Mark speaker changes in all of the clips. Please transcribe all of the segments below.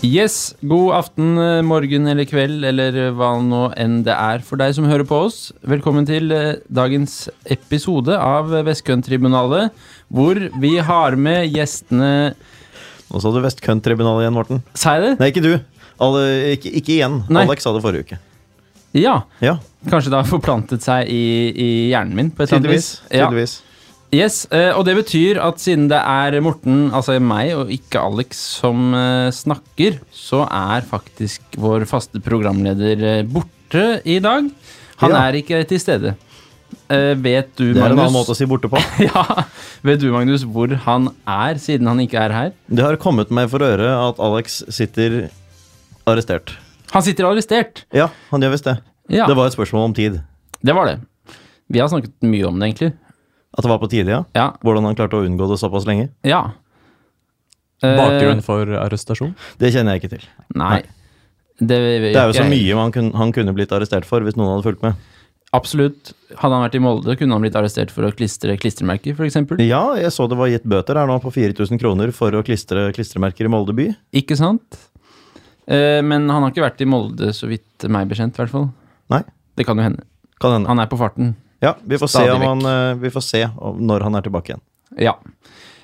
Speaker 1: Yes, god aften, eh, morgen eller kveld, eller eh, hva nå enn det er for deg som hører på oss. Velkommen til eh, dagens episode av Vestkøntribunalet, hvor vi har med gjestene
Speaker 2: Nå sa du Vestkønttribunalet igjen, Morten.
Speaker 1: Sa jeg det?
Speaker 2: Nei, ikke du. Alle, ikke, ikke igjen.
Speaker 1: Nei.
Speaker 2: Alex sa det forrige uke.
Speaker 1: Ja.
Speaker 2: Ja,
Speaker 1: Kanskje det har forplantet seg i, i hjernen min på et eller annet vis.
Speaker 2: tydeligvis. tydeligvis.
Speaker 1: Yes, eh, og det betyr at siden det er Morten, altså meg og ikke Alex, som eh, snakker, så er faktisk vår faste programleder eh, borte i dag. Han
Speaker 2: Ja.
Speaker 1: er ikke til stede. Eh, vet du,
Speaker 2: Det er en annen måte
Speaker 1: Magnus
Speaker 2: å si borte på.
Speaker 1: ja, Vet du, Magnus, hvor han er, siden han ikke er her?
Speaker 2: Det har kommet meg for øre at Alex sitter arrestert.
Speaker 1: Han sitter arrestert!
Speaker 2: Ja, han gjør visst det.
Speaker 1: Ja,
Speaker 2: Det var et spørsmål om tid.
Speaker 1: det var det. Vi har snakket mye om det, egentlig.
Speaker 2: At det var på tide, ja.
Speaker 1: Ja.
Speaker 2: Hvordan han klarte å unngå det såpass lenge.
Speaker 1: ja. Eh,
Speaker 3: Bakgrunn for arrestasjon?
Speaker 2: Det kjenner jeg ikke til.
Speaker 1: Nei. Det,
Speaker 2: Det er jo så mye man kun, han kunne blitt arrestert for hvis noen hadde fulgt med.
Speaker 1: Absolutt. Hadde han vært i Molde, kunne han blitt arrestert for å klistre klistremerker, f.eks.
Speaker 2: Ja, jeg så det var gitt bøter her nå på 4000 kroner for å klistre klistremerker i Molde by.
Speaker 1: Ikke sant? Eh, men han har ikke vært i Molde, så vidt meg bekjent, i hvert fall.
Speaker 2: Nei.
Speaker 1: Det kan jo hende.
Speaker 2: Kan hende.
Speaker 1: Han er på farten.
Speaker 2: Ja, vi får se,
Speaker 1: Stadig
Speaker 2: om
Speaker 1: vekk.
Speaker 2: han, eh, vi får se om, når han er tilbake igjen.
Speaker 1: Ja.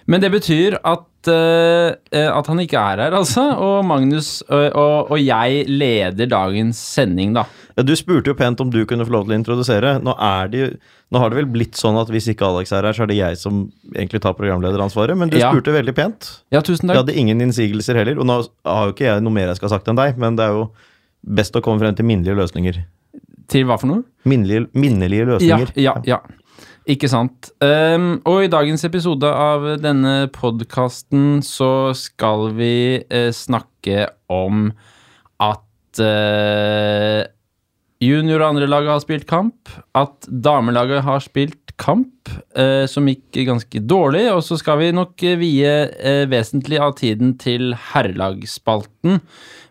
Speaker 1: Men det betyr at, eh, eh, at han ikke er her, altså. Og Magnus eh, og, og jeg leder dagens sending, da.
Speaker 2: Ja, Du spurte jo pent om du kunne få lov til å introdusere. Nå, er det, jo- nå har det vel blitt sånn at hvis ikke Alex er her, så er det jeg som egentlig tar programlederansvaret, men du
Speaker 1: Ja.
Speaker 2: spurte veldig pent.
Speaker 1: Ja, tusen
Speaker 2: Jeg
Speaker 1: takk.
Speaker 2: hadde ingen innsigelser heller, og nå har jo ikke jeg noe mer jeg skal ha sagt enn deg, men det er jo best å komme frem til minnelige løsninger.
Speaker 1: Til hva for noe?
Speaker 2: Minnelige, minnelige
Speaker 1: Ja,
Speaker 2: løsninger.
Speaker 1: ja, ja. Ikke sant. Ehm, og i dagens episode av denne podkasten så skal vi eh, snakke om at eh, junior- og andrelaget har spilt kamp, at damelaget har spilt kamp, eh, som gikk ganske dårlig, og så skal vi nok eh, vie eh, vesentlig av tiden til herrelagsspalten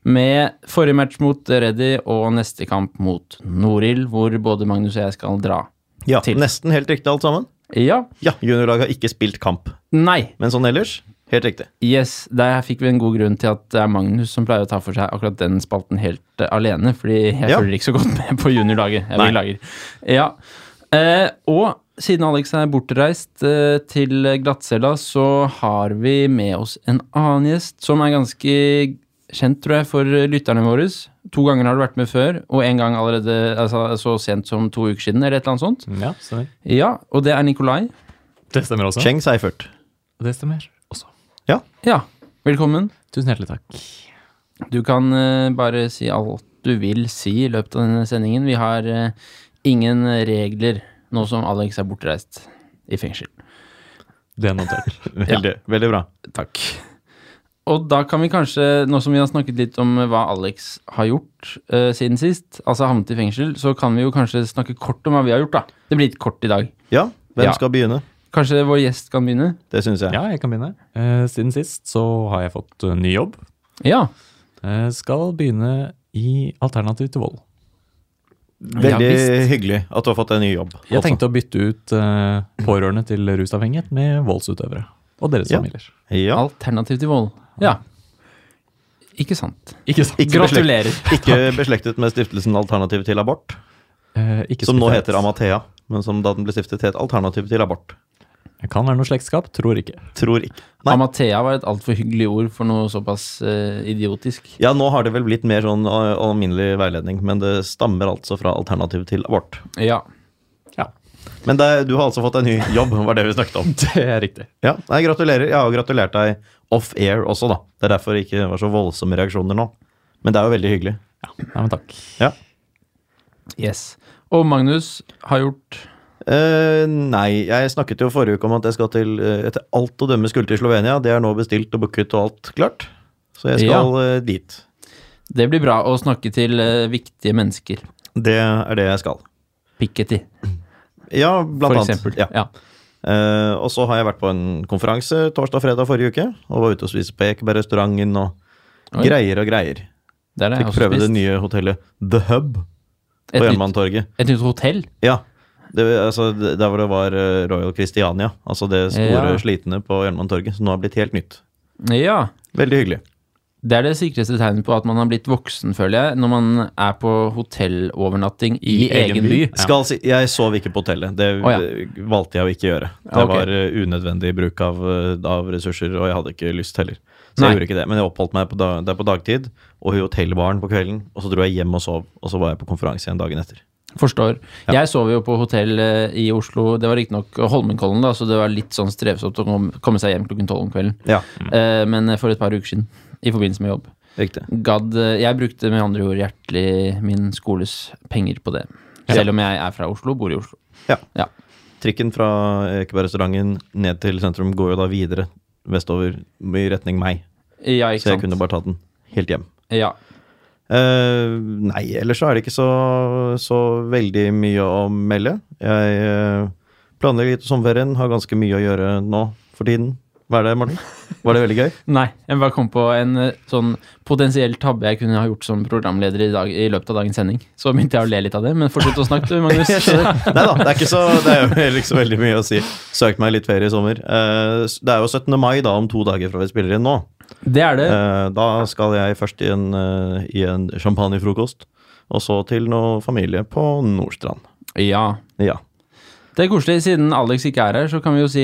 Speaker 1: med forrige match mot Reddy og neste kamp mot Norild, hvor både Magnus og jeg skal dra.
Speaker 2: Ja,
Speaker 1: Til.
Speaker 2: nesten helt riktig alt sammen.
Speaker 1: Ja.
Speaker 2: Ja, juniorlaget har ikke spilt kamp,
Speaker 1: Nei.
Speaker 2: men sånn ellers, helt riktig.
Speaker 1: Yes, der fikk vi en god grunn til at det er Magnus som pleier å ta for seg akkurat den spalten helt eh, alene, fordi jeg
Speaker 2: Ja.
Speaker 1: følger ikke så godt med på juniorlaget. Jeg
Speaker 2: Nei.
Speaker 1: beklager. Ja. Eh, og siden Alex er bortreist eh, til glattcella, så har vi med oss en annen gjest som er ganske kjent, tror jeg, for lytterne våre. To ganger har du vært med før, og en gang allerede altså, så sent som to uker siden, eller et eller annet sånt.
Speaker 3: Ja, stemmer.
Speaker 1: Ja, og det er Nikolai.
Speaker 3: Det stemmer også.
Speaker 2: Cheng Seifert.
Speaker 3: Det stemmer også.
Speaker 1: Ja, velkommen.
Speaker 3: Tusen hjertelig takk.
Speaker 1: Du kan eh, bare si alt du vil si i løpet av denne sendingen. Vi har eh, ingen regler nå som Alex er bortreist i fengsel.
Speaker 3: Det er notert.
Speaker 2: Veldig, veldig bra.
Speaker 1: Takk. Og da kan vi kanskje, nå som vi har snakket litt om eh, hva Alex har gjort eh, siden sist, altså havnet i fengsel, så kan vi jo kanskje snakke kort om hva vi har gjort, da. Det blir litt kort i dag.
Speaker 2: Ja, hvem
Speaker 1: Ja.
Speaker 2: skal begynne?
Speaker 1: Kanskje vår gjest kan begynne?
Speaker 2: Det syns jeg.
Speaker 3: Ja, jeg kan begynne. Eh, siden sist så har jeg fått eh, ny jobb.
Speaker 1: Ja.
Speaker 3: Eh, skal begynne i Alternativ til vold.
Speaker 1: Ja,
Speaker 2: Veldig
Speaker 1: visst.
Speaker 2: hyggelig at du har fått en ny jobb.
Speaker 3: Jeg
Speaker 2: også.
Speaker 3: tenkte å bytte ut eh, pårørende til rusavhengighet med voldsutøvere. Og deres
Speaker 2: Ja.
Speaker 3: familier.
Speaker 2: ja.
Speaker 1: Alternativ til vold. Ja. Ikke sant.
Speaker 3: Ikke sant?
Speaker 2: Ikke beslekt-
Speaker 1: Gratulerer.
Speaker 2: Ikke beslektet med stiftelsen Alternativ til abort,
Speaker 3: Eh, ikke
Speaker 2: som nå
Speaker 3: spesielt.
Speaker 2: heter Amathea, men som da den ble stiftet het Alternativ til abort.
Speaker 3: Jeg kan være noe slektskap, tror ikke.
Speaker 2: Tror ikke. Nei.
Speaker 1: Amathea var et altfor hyggelig ord for noe såpass eh, idiotisk.
Speaker 2: Ja, nå har det vel blitt mer sånn eh, alminnelig veiledning, men det stammer altså fra Alternativ til abort.
Speaker 1: Ja.
Speaker 3: Ja,
Speaker 2: Men det, du har altså fått en ny jobb, var det vi snakket om.
Speaker 3: det er riktig.
Speaker 2: Ja, nei, gratulerer. Jeg har jo gratulert deg off-air også, da. Det er derfor det ikke var så voldsomme reaksjoner nå. Men det er jo veldig hyggelig.
Speaker 3: Nei, men takk.
Speaker 1: Yes. Og Magnus har gjort
Speaker 2: Eh, nei, jeg snakket jo forrige uke om at jeg skal til, eh, etter alt å dømme skulle til Slovenia. Det er nå bestilt og booket og alt klart. Så jeg skal eh, dit.
Speaker 1: Det blir bra å snakke til eh, viktige mennesker.
Speaker 2: Det er det jeg skal.
Speaker 1: Piketty,
Speaker 2: Ja, blant
Speaker 1: for
Speaker 2: annet.
Speaker 1: eksempel.
Speaker 2: Ja.
Speaker 1: Ja.
Speaker 2: Eh, og så har jeg vært på en konferanse torsdag og fredag forrige uke. Og var ute og spiste på Ekeberg-restauranten og
Speaker 1: Oi.
Speaker 2: greier og greier.
Speaker 1: Der har jeg
Speaker 2: Fikk
Speaker 1: også
Speaker 2: prøve
Speaker 1: spist.
Speaker 2: det nye hotellet The Hub på
Speaker 1: et, nytt,
Speaker 2: Jernbanetorget.
Speaker 1: et nytt hotell?
Speaker 2: Ja. Det, altså, det- der hvor det var eh, Royal Christiania, altså det store,
Speaker 1: Ja.
Speaker 2: slitne på Jernbanetorget, som nå har blitt helt nytt.
Speaker 1: Ja.
Speaker 2: Veldig hyggelig.
Speaker 1: Det er det sikreste tegnet på at man har blitt voksen, føler jeg, når man er på hotellovernatting i,
Speaker 3: I egen
Speaker 1: egen by.
Speaker 3: by. Ja.
Speaker 2: Skal si, jeg sov ikke på hotellet. Det
Speaker 1: Å, ja.
Speaker 2: eh, valgte jeg å ikke gjøre. Det
Speaker 1: Ja, ok.
Speaker 2: var eh, unødvendig bruk av, eh, av ressurser, og jeg hadde ikke lyst heller. Så
Speaker 1: Nei.
Speaker 2: jeg gjorde ikke det. Men jeg oppholdt meg på da- der på dagtid og i hotellbaren på kvelden. Og så dro jeg hjem og sov, og så var jeg på konferanse igjen dagen etter.
Speaker 1: Forstår. Jeg sov jo på hotell eh, i Oslo, det var riktignok Holmenkollen, da, så det var litt sånn strevsomt å kom- komme seg hjem klokken tolv om kvelden.
Speaker 2: Ja,
Speaker 1: Eh, Men for et par uker siden, i forbindelse med jobb.
Speaker 2: riktig.
Speaker 1: Gadd, eh, jeg brukte med andre ord hjertelig min skoles penger på det. Selv om jeg er fra Oslo, bor i Oslo.
Speaker 2: Ja.
Speaker 1: Ja.
Speaker 2: Trikken fra eh, Ekebergrestauranten ned til sentrum går jo da videre vestover i retning meg.
Speaker 1: Ja,
Speaker 2: Så
Speaker 1: ikke
Speaker 2: jeg kunne
Speaker 1: sant.
Speaker 2: bare tatt den helt hjem.
Speaker 1: Ja.
Speaker 2: Eh, nei, ellers så er det ikke så, så veldig mye å melde. Jeg eh, planlegger litt sommerferien, har ganske mye å gjøre nå for tiden. Hva er det, Morten? Var det veldig gøy?
Speaker 1: Nei, jeg bare kom på en eh, sånn potensiell tabbe jeg kunne ha gjort som programleder i, dag, i løpet av dagens sending. Så begynte jeg å le litt av det, men fortsett å snakke, du, Magnus.
Speaker 2: Nei da, det er ikke så Det er jo heller ikke så veldig mye å si. Søkt meg litt ferie i sommer. Eh, s- det er jo 17. mai, da, om to dager fra vi spiller inn nå.
Speaker 1: Det er det.
Speaker 2: Eh, da skal jeg først i en, eh, i en champagnefrokost, og så til noe familie på Nordstrand.
Speaker 1: Ja.
Speaker 2: Ja.
Speaker 1: Det er koselig. Siden Alex ikke er her, så kan vi jo si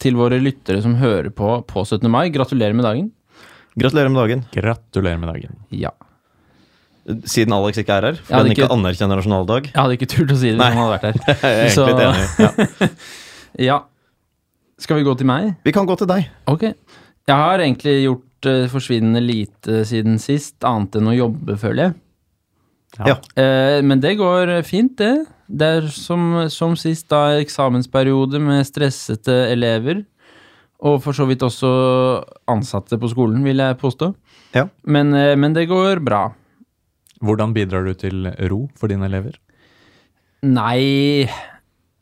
Speaker 1: til våre lyttere som hører på på 17. mai, gratulerer med dagen.
Speaker 2: Gratulerer med dagen.
Speaker 3: Gratulerer med dagen.
Speaker 1: Ja.
Speaker 2: Siden Alex ikke er her,
Speaker 1: Ja,
Speaker 2: for han
Speaker 1: det er
Speaker 2: ikke
Speaker 1: ikke-
Speaker 2: anerkjenner nasjonaldag.
Speaker 1: Jeg hadde ikke turt å si det hvis
Speaker 2: Nei.
Speaker 1: han hadde vært her.
Speaker 2: Jeg er egentlig
Speaker 1: Så-
Speaker 2: litt enig. Ja.
Speaker 1: Ja. Skal vi gå til meg?
Speaker 2: Vi kan gå til deg.
Speaker 1: Ok. Jeg har egentlig gjort eh, forsvinnende lite siden sist, annet enn å jobbe, føler jeg.
Speaker 2: Ja.
Speaker 1: Eh, men det går fint, det. Det er som, som sist, da, eksamensperiode med stressete elever. Og for så vidt også ansatte på skolen, vil jeg påstå.
Speaker 2: Ja.
Speaker 1: Men, eh, men det går bra.
Speaker 3: Hvordan bidrar du til ro for dine elever?
Speaker 1: Nei,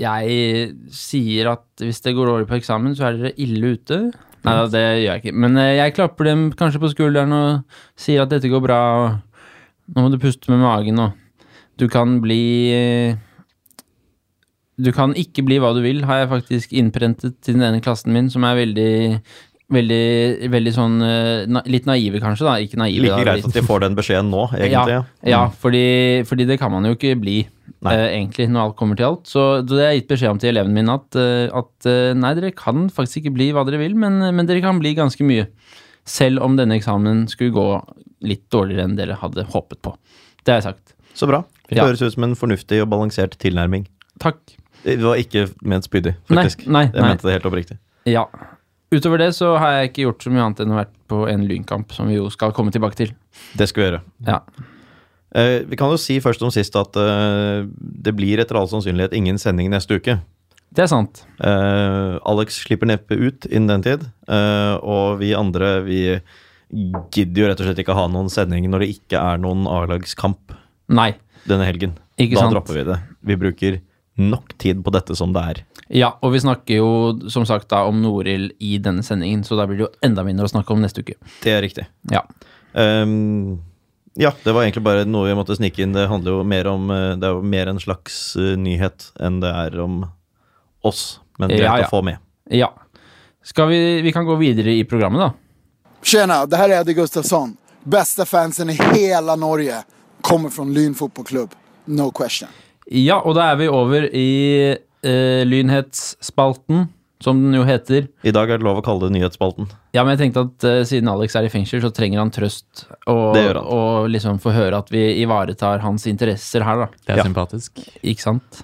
Speaker 1: jeg sier at hvis det går over på eksamen, så er dere ille ute. Nei, da, det gjør jeg ikke. Men eh, jeg klapper dem kanskje på skulderen og sier at dette går bra. Og nå må du puste med magen, og du kan bli eh, Du kan ikke bli hva du vil, har jeg faktisk innprentet til den ene klassen min, som er veldig Veldig, veldig sånn eh, na, Litt naive, kanskje. da, Ikke naive.
Speaker 2: Like
Speaker 1: da,
Speaker 2: greit at de får den beskjeden nå, egentlig.
Speaker 1: ja, Mm. ja fordi, fordi det kan man jo ikke bli,
Speaker 2: Nei.
Speaker 1: eh, egentlig, når alt kommer til alt. Så det har jeg gitt beskjed om til elevene mine, at, eh, at eh, nei, dere kan faktisk ikke bli hva dere vil, men, eh, men dere kan bli ganske mye. Selv om denne eksamen skulle gå litt dårligere enn dere hadde håpet på. Det har jeg sagt.
Speaker 2: Så bra. Det
Speaker 1: Ja.
Speaker 2: høres ut som en fornuftig og balansert tilnærming.
Speaker 1: Takk.
Speaker 2: Det var ikke ment spydig,
Speaker 1: Nei,
Speaker 2: faktisk.
Speaker 1: nei,
Speaker 2: Jeg
Speaker 1: nei.
Speaker 2: mente det helt oppriktig.
Speaker 1: Ja. Utover det så har jeg ikke gjort så mye annet enn å vært på en lynkamp, som vi jo skal komme tilbake til.
Speaker 2: Det skal vi gjøre.
Speaker 1: Ja.
Speaker 2: Eh, vi kan jo si først om sist at eh, det blir etter all sannsynlighet ingen sending neste uke.
Speaker 1: Det er sant.
Speaker 2: Eh, Alex slipper neppe ut innen den tid, eh, og vi andre vi gidder jo rett og slett ikke ha noen sending når det ikke er noen A-lagskamp
Speaker 1: Nei.
Speaker 2: denne helgen.
Speaker 1: Ikke
Speaker 2: da
Speaker 1: sant.
Speaker 2: dropper vi det. Vi bruker nok tid på dette som det er.
Speaker 1: Ja, og vi snakker jo som sagt da om Norild i denne sendingen, så da blir det jo enda mindre å snakke om neste uke.
Speaker 2: Det er riktig.
Speaker 1: Ja.
Speaker 2: Ehm, ja, det var egentlig bare noe vi måtte snike inn. Det handler jo mer om eh, Det er jo mer en slags eh, nyhet enn det er om oss. Men greit
Speaker 1: Ja, ja.
Speaker 2: å få med.
Speaker 1: Ja. Skal vi, vi kan gå videre i programmet, da.
Speaker 4: Tjena, det här är Eddie Gustafsson. Bästa fansen i hela Norge. Kommer från Lyn fotbollsklubb. No question.
Speaker 1: Ja, og da er vi over i eh, Lynhetsspalten, som den jo heter.
Speaker 2: I dag er det lov å kalle det Nyhetsspalten.
Speaker 1: Ja, men jeg tenkte at eh, siden Alex er i fengsel, så trenger han trøst. Og,
Speaker 2: Det gjør han.
Speaker 1: og liksom få høre at vi ivaretar hans interesser her, da.
Speaker 3: Det er
Speaker 2: Ja.
Speaker 3: sympatisk.
Speaker 1: Ikke sant?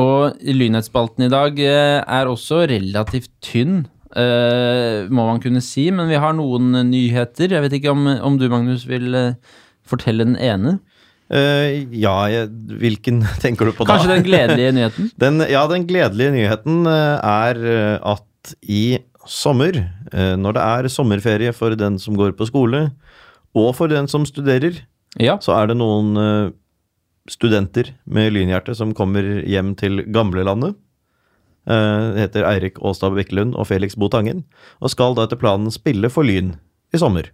Speaker 1: Og Lynhetsspalten i dag eh, er også relativt tynn, eh, må man kunne si. Men vi har noen eh, nyheter. Jeg vet ikke om, om du, Magnus, vil eh, fortelle den ene?
Speaker 2: Eh, ja, jeg, hvilken tenker du på da?
Speaker 1: Kanskje den gledelige nyheten?
Speaker 2: Den, ja, den gledelige nyheten eh, er eh, at i sommer, eh, når det er sommerferie for den som går på skole, og for den som studerer,
Speaker 1: Ja.
Speaker 2: så er det noen eh, studenter med lynhjerte som kommer hjem til gamlelandet. Eh, Det heter Eirik Aastad Bekkelund og Felix Bo Tangen, og skal da etter planen spille for Lyn i sommer.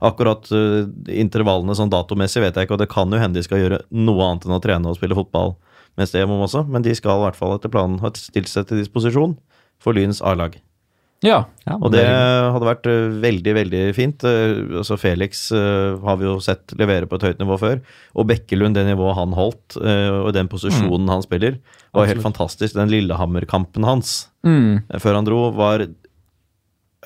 Speaker 2: Akkurat eh, intervallene sånn datomessig vet jeg ikke, og det kan jo hende de skal gjøre noe annet enn å trene og spille fotball mens det er hjemme også, men de skal i hvert fall etter planen ha stilt seg til disposisjon for Lyns A-lag.
Speaker 1: Ja.
Speaker 3: Ja,
Speaker 2: Og det hadde vært eh, veldig, veldig fint. Eh, Altså Felix eh, har vi jo sett levere på et høyt nivå før. Og Bekkelund, det nivået han holdt, eh, og den posisjonen han spiller, var helt fantastisk. Den Lillehammer-kampen hans
Speaker 1: Mm.
Speaker 2: eh, før han dro, var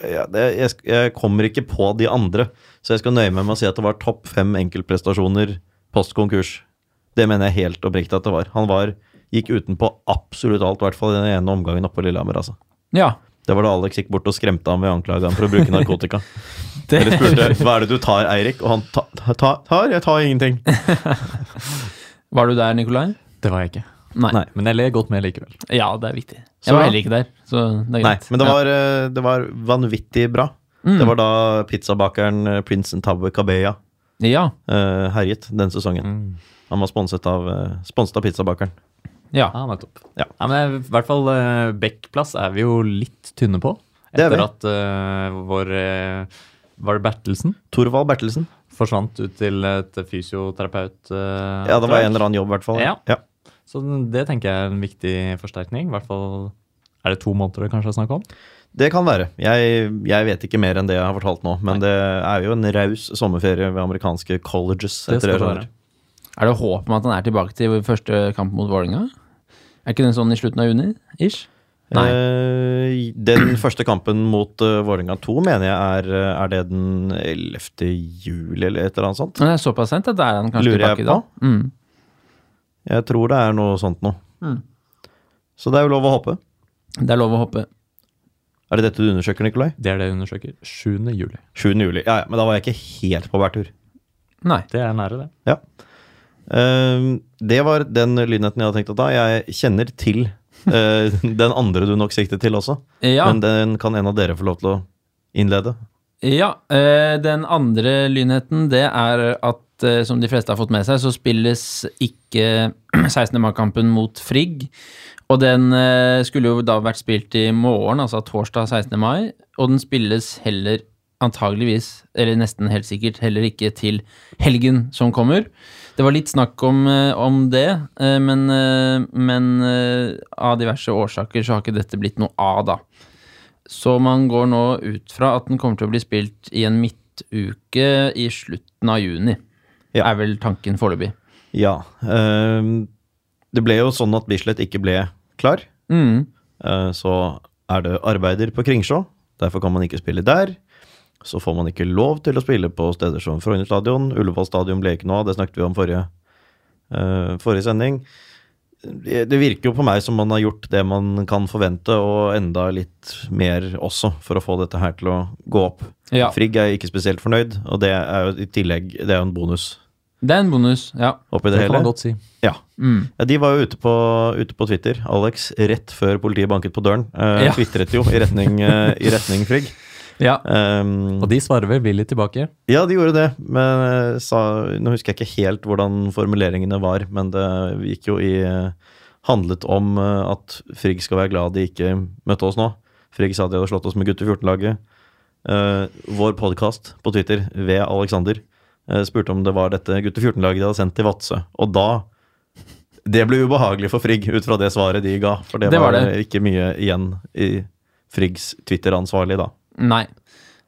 Speaker 2: ja, det, jeg, sk- jeg kommer ikke på de andre, så jeg skal nøye meg med å si at det var topp fem enkeltprestasjoner post konkurs. Det mener jeg helt oppriktig at det var. Han var, gikk utenpå absolutt alt, i hvert fall i den ene omgangen oppe på Lillehammer. altså.
Speaker 1: ja.
Speaker 2: Det var da Alex gikk bort og skremte ham ved å anklage ham for å bruke narkotika.
Speaker 1: Det,
Speaker 2: Eller spurte hva er det du tar, Eirik? Og han ta, ta, tar? Jeg tar ingenting.
Speaker 1: var du der, Nikolai?
Speaker 3: Det var jeg ikke.
Speaker 1: Nei.
Speaker 2: Nei.
Speaker 3: Men jeg ler godt med likevel.
Speaker 1: Ja, det er viktig. Jeg
Speaker 2: Så-
Speaker 1: var heller ikke der, så det er
Speaker 2: Nei,
Speaker 1: greit.
Speaker 2: men det var, eh, det var vanvittig bra.
Speaker 3: Mm.
Speaker 2: Det var da pizzabakeren eh, Prince Ntawe Kabeya
Speaker 1: Ja. ja.
Speaker 2: eh, herjet den sesongen. Han var sponset av, eh, sponset av pizzabakeren.
Speaker 1: Ja.
Speaker 3: Ja, nettopp.
Speaker 2: Ja.
Speaker 3: men i hvert fall eh, Bekkplass er vi jo litt tynne på.
Speaker 2: Det er vi.
Speaker 3: Etter at eh, vår eh, Var det Bertelsen?
Speaker 2: Torvald Bertelsen.
Speaker 3: Forsvant ut til et fysioterapeut. eh,
Speaker 2: Ja, det var
Speaker 3: oppdrag.
Speaker 2: en eller annen jobb, i hvert fall.
Speaker 3: Ja. Så det tenker jeg er en viktig forsterkning. I hvert fall er det to måneder det kanskje er snakk om.
Speaker 2: Det kan være. Jeg, jeg vet ikke mer enn det jeg har fortalt nå. Men det er jo en raus sommerferie ved amerikanske colleges.
Speaker 3: Det
Speaker 2: etter
Speaker 3: skal
Speaker 2: det jeg
Speaker 3: det
Speaker 2: skjønner.
Speaker 3: være.
Speaker 1: Er det håp om at han er tilbake til første kamp mot Vålerenga? Er ikke den sånn i slutten av juni? Ish? Nei.
Speaker 2: Eh, Den første kampen mot uh, Vålerenga 2 mener jeg er eh, Er det den 11. juli eller et eller annet sånt?
Speaker 1: Men det er såpass sent at da er han kanskje
Speaker 2: Lurer jeg
Speaker 1: tilbake da.
Speaker 2: på.
Speaker 1: Mm.
Speaker 2: Jeg tror det er noe sånt noe.
Speaker 1: Mm.
Speaker 2: Så det er jo lov å håpe.
Speaker 1: Det er lov å håpe.
Speaker 2: Er det dette du undersøker, Nikolai?
Speaker 3: Det er det jeg undersøker. 7. juli.
Speaker 2: 7. juli. Ja, ja, men da var jeg ikke helt på bærtur.
Speaker 1: Nei.
Speaker 3: Det er nære, det.
Speaker 2: Ja. Eh, det var den lynheten jeg hadde tenkt å ta. Jeg kjenner til eh, den andre du nok siktet til også.
Speaker 1: Ja,
Speaker 2: Men den kan en av dere få lov til å innlede.
Speaker 1: ja eh, den andre lynheten, det er at eh, som de fleste har fått med seg, så spilles ikke 16. mai-kampen mot Frigg. Og den eh, skulle jo da vært spilt i morgen, altså torsdag 16. mai, og den spilles heller antageligvis, eller nesten helt sikkert, heller ikke til helgen som kommer. Det var litt snakk om, eh, om det, eh, men, eh, men eh, av diverse årsaker så har ikke dette blitt noe av, da. Så man går nå ut fra at den kommer til å bli spilt i en midtuke i slutten av juni.
Speaker 2: Ja.
Speaker 1: Er vel tanken foreløpig.
Speaker 2: Ja. ehm, det ble jo sånn at Bislett ikke ble klar.
Speaker 1: Mm.
Speaker 2: Eh, så er det arbeider på Kringsjå. Derfor kan man ikke spille der. Så får man ikke lov til å spille på steder som Frogner stadion. Ullevål stadion ble ikke noe av, det snakket vi om forrige, eh, forrige sending. Det det virker jo på meg som man har gjort det man kan forvente, og enda litt mer også, for å få dette her til å gå opp.
Speaker 1: Ja.
Speaker 2: Frigg er ikke spesielt fornøyd, og det er jo i tillegg det er jo en bonus
Speaker 1: Det er en bonus, ja.
Speaker 2: oppi det,
Speaker 3: Det kan
Speaker 2: hele.
Speaker 3: man godt si.
Speaker 2: Ja.
Speaker 1: Mm.
Speaker 2: Ja, De var jo ute på, ute på Twitter, Alex, rett før politiet banket på døren. Uh,
Speaker 1: Ja.
Speaker 2: Tvitret jo i retning, eh, i retning Frigg.
Speaker 1: ja.
Speaker 2: Ehm,
Speaker 3: Og de svarer vel villig tilbake.
Speaker 2: ja, de gjorde det, men eh, sa, nå husker jeg ikke helt hvordan formuleringene var, men det gikk jo i eh, Handlet om eh, at Frigg skal være glad de ikke møtte oss nå. Frigg sa de hadde slått oss med gutter 14-laget. Eh, vår podkast på Twitter, ved Alexander, eh, spurte om det var dette gutter 14-laget de hadde sendt til Vadsø. Og da Det ble ubehagelig for Frigg, ut fra det svaret de ga. For det,
Speaker 1: Det var
Speaker 2: var, det. ikke mye igjen i Friggs Twitter-ansvarlig da.
Speaker 1: Nei.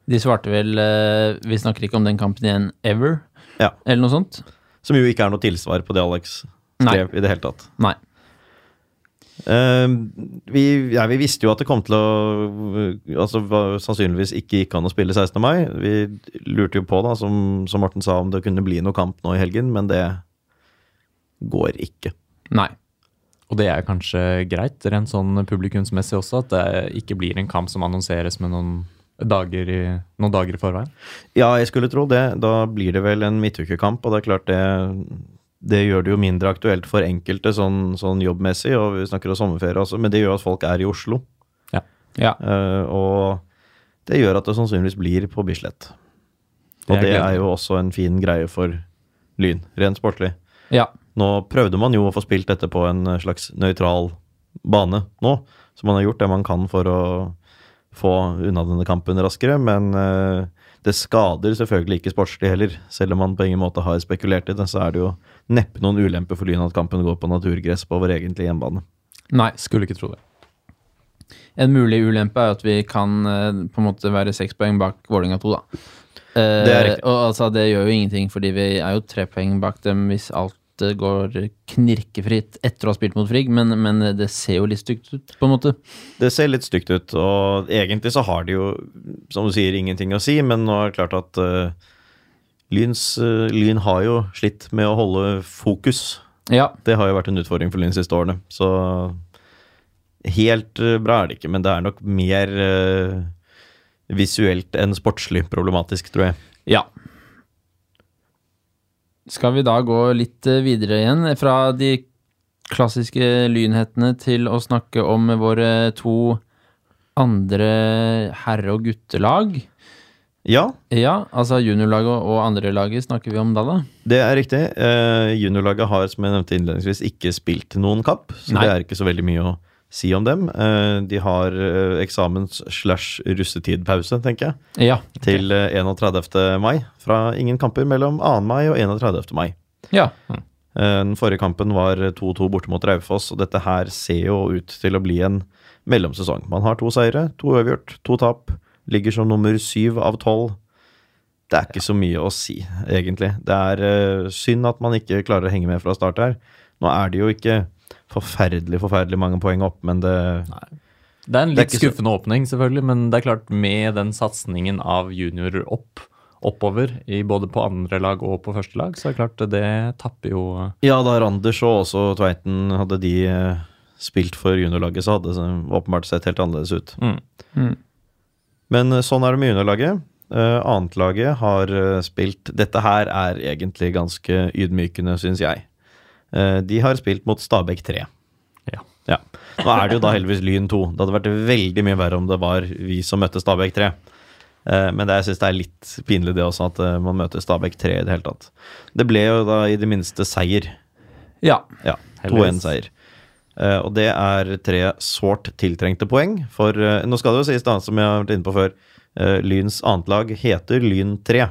Speaker 1: De svarte vel eh, Vi snakker ikke om den kampen igjen ever,
Speaker 2: Ja.
Speaker 1: eller noe sånt.
Speaker 2: Som jo ikke er noe tilsvar på det Alex skrev i det hele tatt.
Speaker 1: Nei.
Speaker 2: Eh, vi, ja, vi visste jo at det kom til å Altså hva- sannsynligvis ikke gikk an å spille 16. mai. Vi lurte jo på, da, som, som Morten sa, om det kunne bli noe kamp nå i helgen, men det går ikke.
Speaker 1: Nei.
Speaker 3: Og det er kanskje greit, rent sånn publikumsmessig også, at det ikke blir en kamp som annonseres med noen dager i, noen dager i forveien.
Speaker 2: Ja, jeg skulle tro det. Da blir det vel en midtukekamp, og det er klart det det gjør det jo mindre aktuelt for enkelte sånn, sånn jobbmessig, og vi snakker om sommerferie også, men det gjør at folk er i Oslo.
Speaker 1: Ja.
Speaker 2: Eh, og det gjør at det sannsynligvis blir på Bislett.
Speaker 3: Det
Speaker 2: Og
Speaker 3: er
Speaker 2: det er
Speaker 3: gledelig.
Speaker 2: jo også en fin greie for Lyn, rent sportlig.
Speaker 1: Ja.
Speaker 2: Nå prøvde man jo å få spilt dette på en slags nøytral bane nå, så man har gjort det man kan for å få unna denne kampen raskere, men eh, det skader selvfølgelig ikke sportslig heller. Selv om man på ingen måte har spekulert i det, så er det jo neppe noen ulempe for Lyn at kampen går på naturgress på vår egentlige hjemmebane.
Speaker 1: Nei.
Speaker 3: Skulle ikke tro det.
Speaker 1: En mulig ulempe er at vi kan eh, på en måte være seks poeng bak Vålinga 2, da. Eh,
Speaker 2: Det er riktig.
Speaker 1: og altså, det gjør jo ingenting, fordi vi er jo tre poeng bak dem hvis alt eh, går knirkefritt etter å ha spilt mot Frigg, men, men det ser jo litt stygt ut, på en måte.
Speaker 2: Det ser litt stygt ut, og egentlig så har de jo, som du sier, ingenting å si, men nå er det klart at eh, Lyns, eh, Lyn har jo slitt med å holde fokus.
Speaker 1: Ja,
Speaker 2: Det har jo vært en utfordring for Lyn de siste årene, så helt eh, bra er det ikke, men det er nok mer eh, visuelt enn sportslig problematisk, tror jeg.
Speaker 1: Ja. Skal vi da gå litt eh, videre igjen fra de klassiske lynhetene til å snakke om våre to andre herre- og guttelag?
Speaker 2: Ja,
Speaker 1: Ja, altså juniorlaget og- og andrelaget snakker vi om da, da.
Speaker 2: Det er riktig. Eh, juniorlaget har, som jeg nevnte innledningsvis, ikke spilt noen kapp, så
Speaker 1: Nei.
Speaker 2: det er ikke så veldig mye å si om dem. Eh, de har eh, eksamens slash russetidpause, tenker jeg,
Speaker 1: Ja.
Speaker 2: til eh, 31. mai. Fra ingen kamper mellom 2. mai og 31. mai.
Speaker 1: ja.
Speaker 2: Eh, Den forrige kampen var 2-2 borte mot Raufoss, og dette her ser jo ut til å bli en mellomsesong. Man har to seire, to uavgjort, to tap. Ligger som nummer syv av tolv. Det er ikke så mye å si, egentlig. Det er eh, synd at man ikke klarer å henge med fra start her. Nå er det jo ikke forferdelig, forferdelig mange poeng opp, men det
Speaker 3: Det er en
Speaker 2: Det er
Speaker 3: litt
Speaker 2: ikke så-
Speaker 3: skuffende åpning, selvfølgelig, men det er klart med den satsingen av juniorer opp, oppover, i både på andre lag og på første lag, så er det klart det tapper jo
Speaker 2: Ja, da Randers og også Tveiten hadde de eh, spilt for juniorlaget, så hadde det åpenbart sett helt annerledes ut.
Speaker 3: mm.
Speaker 2: Men eh, sånn er det med juniorlaget. Uh, Annetlaget har eh, spilt Dette her er egentlig ganske ydmykende, syns jeg. Eh, de har spilt mot Stabæk 3.
Speaker 3: Ja.
Speaker 2: Ja. Nå er det jo da heldigvis Lyn 2. Det hadde vært veldig mye verre om det var vi som møtte Stabæk 3. Eh, Men det, jeg syns det er litt pinlig det også, at eh, man møter Stabæk 3 i det hele tatt. Det ble jo da i det minste seier.
Speaker 1: Ja.
Speaker 2: Ja,
Speaker 3: Heldigvis.
Speaker 2: 2-1-seier. Eh, og det er tre sårt tiltrengte poeng. For eh, nå skal det jo sies, da, som jeg har vært inne på før, eh, Lyns annet lag heter Lyn 3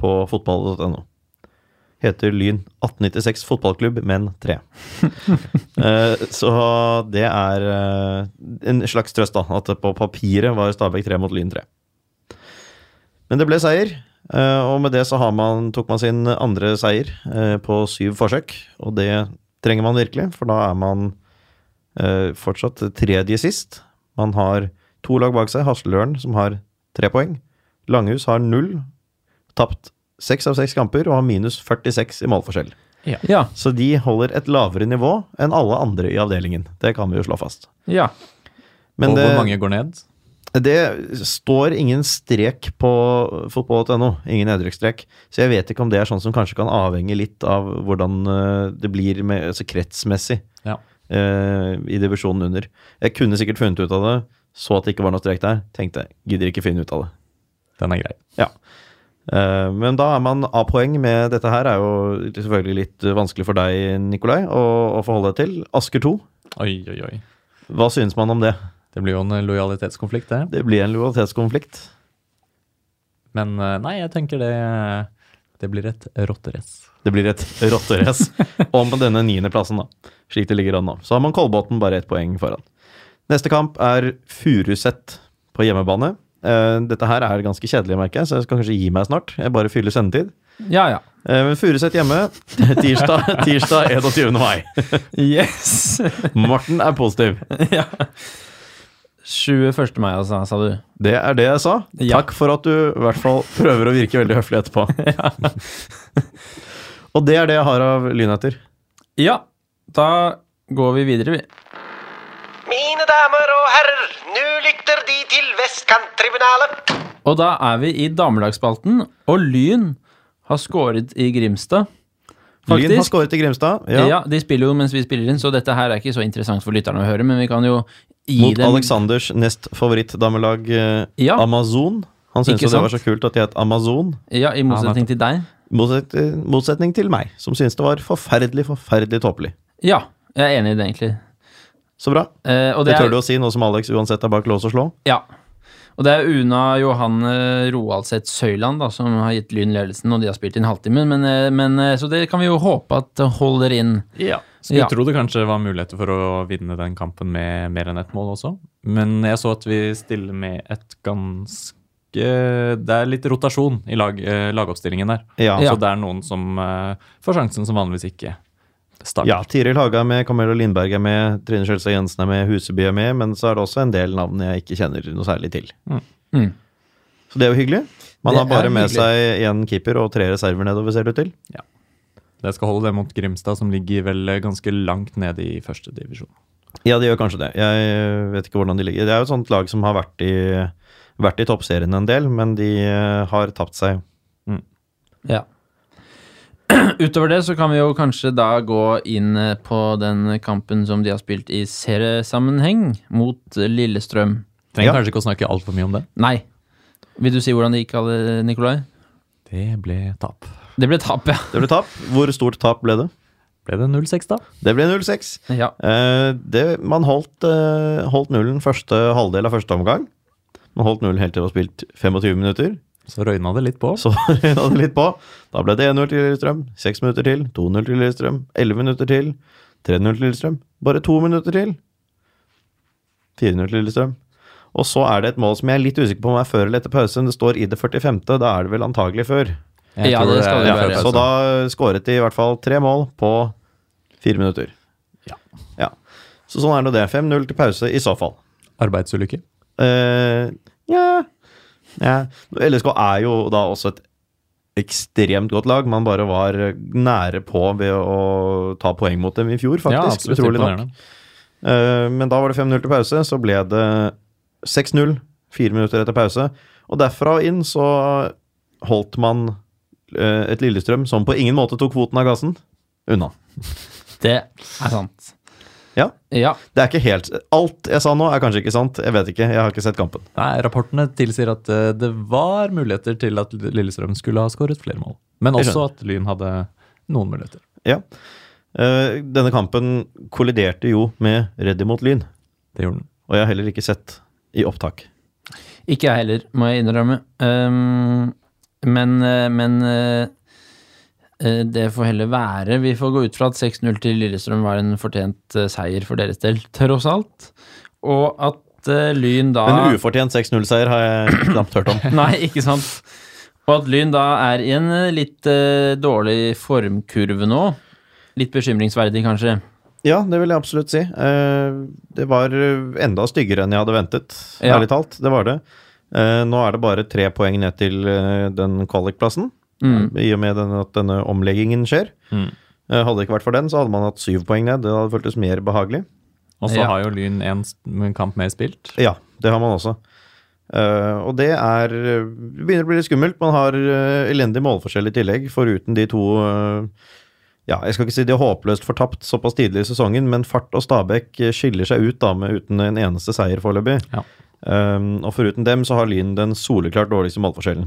Speaker 2: på fotball.no. Heter Lyn 1896 fotballklubb, men 3. Eh, så det er eh, en slags trøst, da, at på papiret var Stabæk 3 mot Lyn 3. Men det ble seier, eh, og med det så har man, tok man sin andre seier eh, på syv forsøk. Og det trenger man virkelig, for da er man eh, fortsatt tredje sist. Man har to lag bak seg, Hasleløren som har tre poeng. Langhus har null. Tapt seks av seks kamper og har minus 46 i målforskjell.
Speaker 1: Ja.
Speaker 2: Så de holder et lavere nivå enn alle andre i avdelingen. Det kan vi jo slå fast.
Speaker 1: ja.
Speaker 2: Men
Speaker 3: og
Speaker 2: det,
Speaker 3: hvor mange går ned?
Speaker 2: det står ingen strek på fotball.no. Ingen nedrykksstrek. Så jeg vet ikke om det er sånn som kanskje kan avhenge litt av hvordan eh, det blir med, altså kretsmessig
Speaker 3: Ja.
Speaker 2: eh, i divisjonen under. Jeg kunne sikkert funnet ut av det, så at det ikke var noe strek der. Tenkte jeg, gidder ikke finne ut av det.
Speaker 3: Den er grei.
Speaker 2: Ja. Eh, Men da er man A-poeng med dette her, er jo selvfølgelig litt eh, vanskelig for deg, Nikolai, å, å forholde deg til. Asker 2,
Speaker 3: Oi, oi, oi.
Speaker 2: hva synes man om det?
Speaker 3: Det blir jo en lojalitetskonflikt, det.
Speaker 2: Det blir en lojalitetskonflikt.
Speaker 3: Men eh, nei, jeg tenker det Det blir et rotterace.
Speaker 2: Det blir et rotterace om denne niendeplassen, da. Slik det ligger an nå. Så har man Kolbotn bare ett poeng foran. Neste kamp er Furuset på hjemmebane. Eh, Dette her er ganske kjedelig, merker jeg, så jeg skal kanskje gi meg snart. Jeg bare fyller sendetid.
Speaker 1: Ja, ja.
Speaker 2: Eh, Men Furuset hjemme tirsdag, tirsdag 21. mai.
Speaker 1: Yes!
Speaker 2: Morten er positiv.
Speaker 1: ja. 21. mai, altså, sa du.
Speaker 2: Det er det jeg sa.
Speaker 1: Ja.
Speaker 2: Takk for at du i hvert fall prøver å virke veldig høflig etterpå. Og det er det jeg har av lynheter.
Speaker 1: Ja. Da går vi videre, vi.
Speaker 5: Mine damer og herrer, nå lytter De til Vestkanttribunalet.
Speaker 1: Og da er vi i damelagsspalten, og Lyn har skåret i Grimstad.
Speaker 2: Lyn har
Speaker 1: Faktisk.
Speaker 2: skåret i Grimstad.
Speaker 1: Ja.
Speaker 2: Ja.
Speaker 1: De spiller jo mens vi spiller inn, så dette her er ikke så interessant for lytterne å høre, men vi kan jo gi
Speaker 2: Mot
Speaker 1: dem
Speaker 2: Aleksanders nest favorittdamelag eh,
Speaker 1: Ja.
Speaker 2: Amazon. Han syntes
Speaker 1: Ikke
Speaker 2: jo det var
Speaker 1: sant?
Speaker 2: så kult at de het Amazon.
Speaker 1: Ja, i motsetning til deg.
Speaker 2: Motset, motsetning til meg, som syntes det var forferdelig, forferdelig tåpelig.
Speaker 1: Ja, jeg er enig i det, egentlig.
Speaker 2: Så bra.
Speaker 1: Eh, og
Speaker 2: Det,
Speaker 1: det,
Speaker 2: tør
Speaker 1: er,
Speaker 2: du å si, nå som Alex uansett er bak lås og slå.
Speaker 1: Ja. Og det er Una Johanne Roaldseth Søyland da, som har gitt Lyn ledelsen, og de har spilt i en halvtime, men, eh, men, eh, så det kan vi jo håpe at det holder inn.
Speaker 3: Skulle
Speaker 1: Ja.
Speaker 3: tro det kanskje var muligheter for å vinne den kampen med mer enn ett mål også, Men jeg så at vi stiller med et ganske Det er litt rotasjon i lag, eh, lagoppstillingen der.
Speaker 2: Ja.
Speaker 3: Så det er noen som eh, får sjansen som vanligvis ikke starter.
Speaker 2: Ja, Tiril Haga er med, Camilla Lindberg er med, Trine Skjelstad Jensen er med, Huseby er med, men så er det også en del navn jeg ikke kjenner noe særlig til.
Speaker 1: Mm.
Speaker 2: Så det er jo hyggelig. Man
Speaker 1: Det
Speaker 2: har bare
Speaker 1: er
Speaker 2: med
Speaker 1: hyggelig.
Speaker 2: seg én keeper og tre reserver nedover, ser det ut til.
Speaker 3: Det skal holde det mot Grimstad, som ligger vel eh, ganske langt nede i første divisjon.
Speaker 2: Ja, de gjør kanskje det. Jeg eh, vet ikke hvordan de ligger. Det er jo et sånt lag som har vært i, vært i toppserien en del, men de eh, har tapt seg.
Speaker 1: Ja. Utover det så kan vi jo kanskje da gå inn eh, på den kampen som de har spilt i seriesammenheng mot eh, Lillestrøm.
Speaker 3: Trenger
Speaker 2: Ja.
Speaker 3: kanskje ikke å snakke altfor mye om det.
Speaker 1: Nei. Vil du si hvordan det gikk, alle- Nikolai?
Speaker 3: Det ble tap.
Speaker 1: Det ble tap, ja.
Speaker 2: Det ble tap. Hvor stort tap ble det?
Speaker 3: Ble det 0-6, da?
Speaker 2: Det ble 0-6.
Speaker 1: ja.
Speaker 2: Eh, det, man holdt, eh, holdt nullen første halvdel av første omgang. Man holdt nullen helt til det var spilt 25 minutter.
Speaker 3: Så røyna det litt på.
Speaker 2: Så røyna det litt på. Da ble det 1-0 til Lillestrøm. 6 minutter til. 2-0 til Lillestrøm. 11 minutter til. 3-0 til Lillestrøm. Bare to minutter til. 4-0 til Lillestrøm. Og så er det et mål som jeg er litt usikker på om er før eller etter pause. men Det står i det 45. Da er det vel antagelig før.
Speaker 3: Jeg
Speaker 1: Ja,
Speaker 3: tror
Speaker 1: det skal
Speaker 3: er
Speaker 1: det
Speaker 3: før
Speaker 1: være.
Speaker 3: pause.
Speaker 2: Så da eh, skåret de i hvert fall tre mål på fire minutter.
Speaker 3: Ja.
Speaker 2: ja. Så sånn er nå det. 5-0 til pause i så fall.
Speaker 3: Arbeidsulykke.
Speaker 2: Eh, Nja Nja. LSK er jo da også et ekstremt godt lag. Man bare var nære på ved å ta poeng mot dem i fjor, faktisk. utrolig nok.
Speaker 3: imponerende.
Speaker 2: Eh, men da var det 5-0 til pause. Så ble det 6-0 fire minutter etter pause. Og derfra og inn så holdt man eh, et Lillestrøm som på ingen måte tok kvoten av gassen, unna.
Speaker 1: Det er sant.
Speaker 2: Ja.
Speaker 1: Ja.
Speaker 2: Det er ikke helt Alt jeg sa nå, er kanskje ikke sant. Jeg vet ikke. Jeg har ikke sett kampen.
Speaker 3: Nei, rapportene tilsier at eh, det var muligheter til at Lillestrøm skulle ha skåret flere mål. Men
Speaker 2: Jeg
Speaker 3: også at Lyn hadde noen muligheter.
Speaker 2: Ja. Eh, denne kampen kolliderte jo med Reddy mot Lyn,
Speaker 3: Det gjorde den.
Speaker 2: og jeg har heller ikke sett i opptak.
Speaker 1: Ikke jeg heller, må jeg innrømme. Ehm, men eh, men eh, eh, det får heller være. Vi får gå ut fra at 6-0 til Lillestrøm var en fortjent eh, seier for deres del, tross alt. Og at eh, Lyn da
Speaker 2: Men ufortjent 6-0-seier har jeg knapt hørt om.
Speaker 1: Nei, ikke sant. Og at Lyn da er i en eh, litt eh, dårlig formkurve nå. Litt bekymringsverdig, kanskje.
Speaker 2: Ja, det vil jeg absolutt si. Eh, det var eh, enda styggere enn jeg hadde ventet,
Speaker 1: Ja.
Speaker 2: ærlig talt. Det var det. Eh, nå er det bare tre poeng ned til eh, den kvalikplassen,
Speaker 1: Mm.
Speaker 2: i og med den, at denne omleggingen skjer.
Speaker 3: Mm.
Speaker 2: Eh, hadde det ikke vært for den, så hadde man hatt syv poeng ned. Det hadde føltes mer behagelig.
Speaker 3: Og så
Speaker 1: Ja.
Speaker 3: har jo Lyn en s- en kamp mer spilt.
Speaker 2: Ja, det har man også. Eh, og det er Det begynner å bli litt skummelt. Man har eh, elendig målforskjell i tillegg, foruten de to eh, Ja, jeg skal ikke si de er håpløst fortapt såpass tidlig i sesongen, men Fart og Stabæk eh, skiller seg ut da med uten en eneste seier foreløpig.
Speaker 3: Ja.
Speaker 2: Eh, og foruten dem så har Lyn den soleklart dårligste målforskjellen.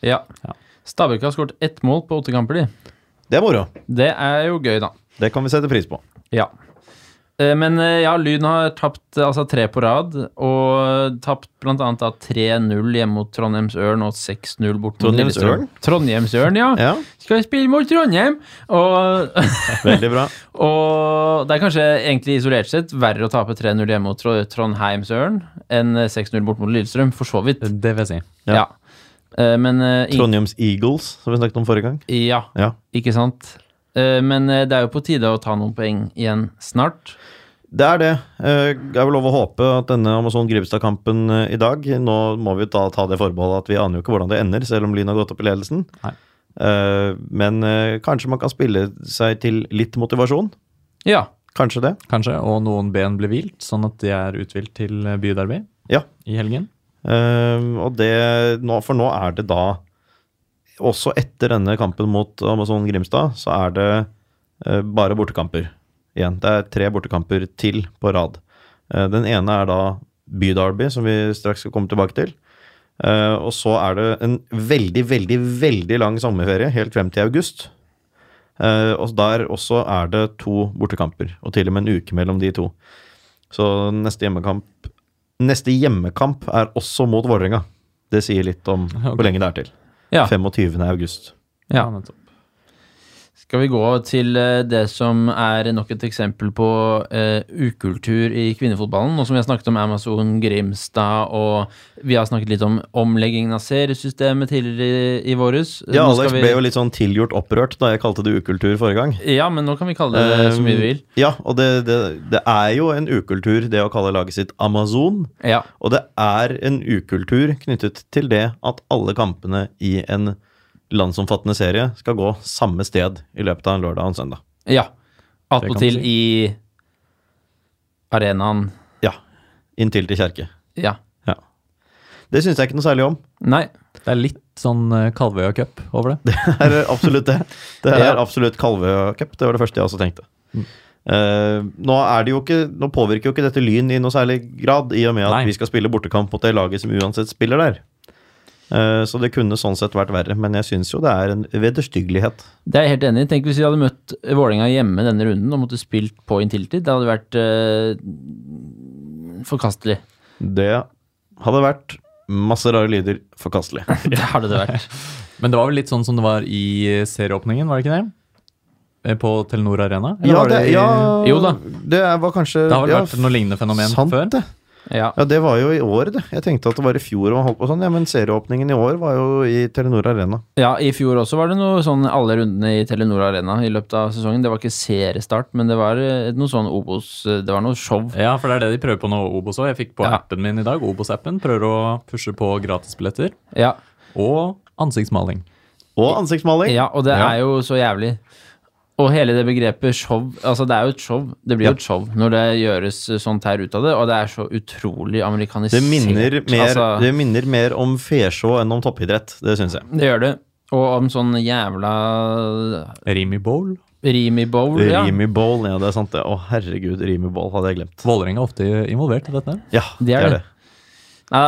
Speaker 1: Ja.
Speaker 3: Ja.
Speaker 1: Stabæk har skåret ett mål på åtte kamper, de.
Speaker 2: Det er moro.
Speaker 1: Det er jo gøy, da.
Speaker 2: Det kan vi sette pris på.
Speaker 1: Ja. Eh, Men eh, ja, Lyn har tapt eh, altså, tre på rad, og eh, tapt bl.a. 3-0 hjemme mot Trondheims-Ørn og 6-0 bort mot
Speaker 2: Trondheims
Speaker 1: Lillestrøm.
Speaker 2: Ørn?
Speaker 1: Trondheims-Ørn, ja.
Speaker 2: Ja,
Speaker 1: Skal spille mot Trondheim! Og,
Speaker 2: Veldig bra.
Speaker 1: og det er kanskje egentlig isolert sett verre å tape 3-0 hjemme mot Tro- Trondheims-Ørn enn eh, 6-0 bort mot Lillestrøm, for så vidt.
Speaker 3: Det vil jeg si.
Speaker 2: Ja.
Speaker 1: Ja. Eh, Men eh, ing-
Speaker 2: Trondheims Eagles, som vi snakket om forrige gang.
Speaker 1: Ja,
Speaker 2: Ja.
Speaker 1: ikke sant? Eh, Men eh, det er jo på tide å ta noen poeng igjen snart.
Speaker 2: Det er det. Eh, Det er vel lov å håpe at denne Amazon Grimstad-kampen eh, i dag Nå må vi ta, ta det forbeholdet at vi aner jo ikke hvordan det ender, selv om Lyn har gått opp i ledelsen.
Speaker 3: Nei.
Speaker 2: Eh, Men eh, kanskje man kan spille seg til litt motivasjon.
Speaker 1: Ja.
Speaker 2: Kanskje det.
Speaker 3: Kanskje. Og noen ben ble hvilt, sånn at de er uthvilt til eh, byderby
Speaker 2: Ja.
Speaker 3: i helgen.
Speaker 2: Eh, Og det nå, For nå er det da Også etter denne kampen mot Amazon Grimstad, så er det eh, bare bortekamper igjen. Det er tre bortekamper til på rad. Eh, Den ene er da Byderby, som vi straks skal komme tilbake til. Eh, og så er det en veldig, veldig, veldig lang sommerferie, helt frem til august. Eh, og der også er det to bortekamper, og til og med en uke mellom de to. Så neste hjemmekamp Neste hjemmekamp er også mot Vålerenga. Det sier litt om hvor lenge det er til.
Speaker 1: Ja.
Speaker 2: 25. august.
Speaker 1: Ja.
Speaker 3: nettopp.
Speaker 1: Skal vi gå til eh, det som er nok et eksempel på eh, ukultur i kvinnefotballen? Nå som vi har snakket om Amazon Grimstad, og vi har snakket litt om omleggingen av seriesystemet tidligere i, i våres. Eh,
Speaker 2: Ja,
Speaker 1: Nå skal
Speaker 2: Alex
Speaker 1: vi-
Speaker 2: ble jo litt sånn tilgjort opprørt da jeg kalte det ukultur forrige gang. Um,
Speaker 1: Ja, men nå kan vi kalle det så
Speaker 2: Ehm,
Speaker 1: mye vi vil.
Speaker 2: Ja, og det, det, det er jo en ukultur, det å kalle laget sitt Amazon.
Speaker 1: Ja.
Speaker 2: Og det er en ukultur knyttet til det at alle kampene i en landsomfattende serie skal gå samme sted i løpet av en lørdag og en søndag.
Speaker 1: ja.
Speaker 3: Det kan
Speaker 1: Attpåtil
Speaker 3: du
Speaker 1: i arenaen.
Speaker 2: Ja. Inntil til kjerke.
Speaker 1: Ja.
Speaker 2: Ja. Det syns jeg ikke noe særlig om.
Speaker 1: Nei.
Speaker 3: Det er litt sånn eh, Kalvøya Cup over det.
Speaker 2: Det er absolutt det. Det er
Speaker 1: Ja.
Speaker 2: absolutt Kalvøya-cup. Det var det første jeg også tenkte. Eh, nå, er det jo ikke, nå påvirker jo ikke dette Lyn i noe særlig grad, i og med at
Speaker 3: Nei.
Speaker 2: vi skal spille bortekamp mot det laget som uansett spiller der. Eh, så det kunne sånn sett vært verre, men jeg syns jo det er en vederstyggelighet.
Speaker 1: Det er jeg helt enig i. Tenk hvis vi hadde møtt Vålerenga hjemme denne runden og måtte spilt på inntiltid. Det hadde vært eh, forkastelig.
Speaker 2: Det hadde vært masse rare lyder. Forkastelig.
Speaker 1: Det hadde det vært.
Speaker 3: Men det var vel litt sånn som det var i eh, serieåpningen, var det ikke det? Eh, På Telenor Arena? eller
Speaker 2: Ja,
Speaker 3: var
Speaker 2: det,
Speaker 3: i-
Speaker 2: ja,
Speaker 1: Jo da.
Speaker 2: det er- var kanskje
Speaker 3: Det har vel
Speaker 2: ja,
Speaker 3: vært noe lignende fenomen
Speaker 2: sant
Speaker 3: før?
Speaker 2: det.
Speaker 1: Ja.
Speaker 2: Ja, det var jo i år, det. Jeg tenkte at det var i fjor og man holdt på sånn, ja, men serieåpningen i år var jo i Telenor Arena.
Speaker 1: ja, i fjor også var det noe sånn alle rundene i Telenor Arena i løpet av sesongen. Det var ikke seriestart, men det var eh, noe sånn Obos eh, Det var noe show.
Speaker 3: Ja, for det er det de prøver på nå, Obos òg. Jeg fikk på
Speaker 1: Ja.
Speaker 3: appen min i dag, Obos-appen. Prøver å pushe på gratisbilletter
Speaker 1: Ja.
Speaker 3: og ansiktsmaling.
Speaker 2: Og ansiktsmaling.
Speaker 1: ja og det
Speaker 3: Ja.
Speaker 1: er jo så jævlig. Og hele det begrepet show Altså, det er jo et show. Det blir jo et show når det gjøres eh, sånt her ut av det, og det er så utrolig amerikanisert.
Speaker 2: Det minner, mer,
Speaker 1: Altså-
Speaker 2: det minner mer om fesjå enn om toppidrett, det syns jeg.
Speaker 1: Det gjør det. Og om sånn jævla
Speaker 3: Rimi Bowl.
Speaker 1: Rimi Bowl, ja.
Speaker 2: Rimi Bowl, ja, det er sant det. Å herregud, Rimi Bowl hadde jeg glemt.
Speaker 3: Vålerenga er ofte involvert i dette.
Speaker 2: Ja, det er det.
Speaker 1: Neida,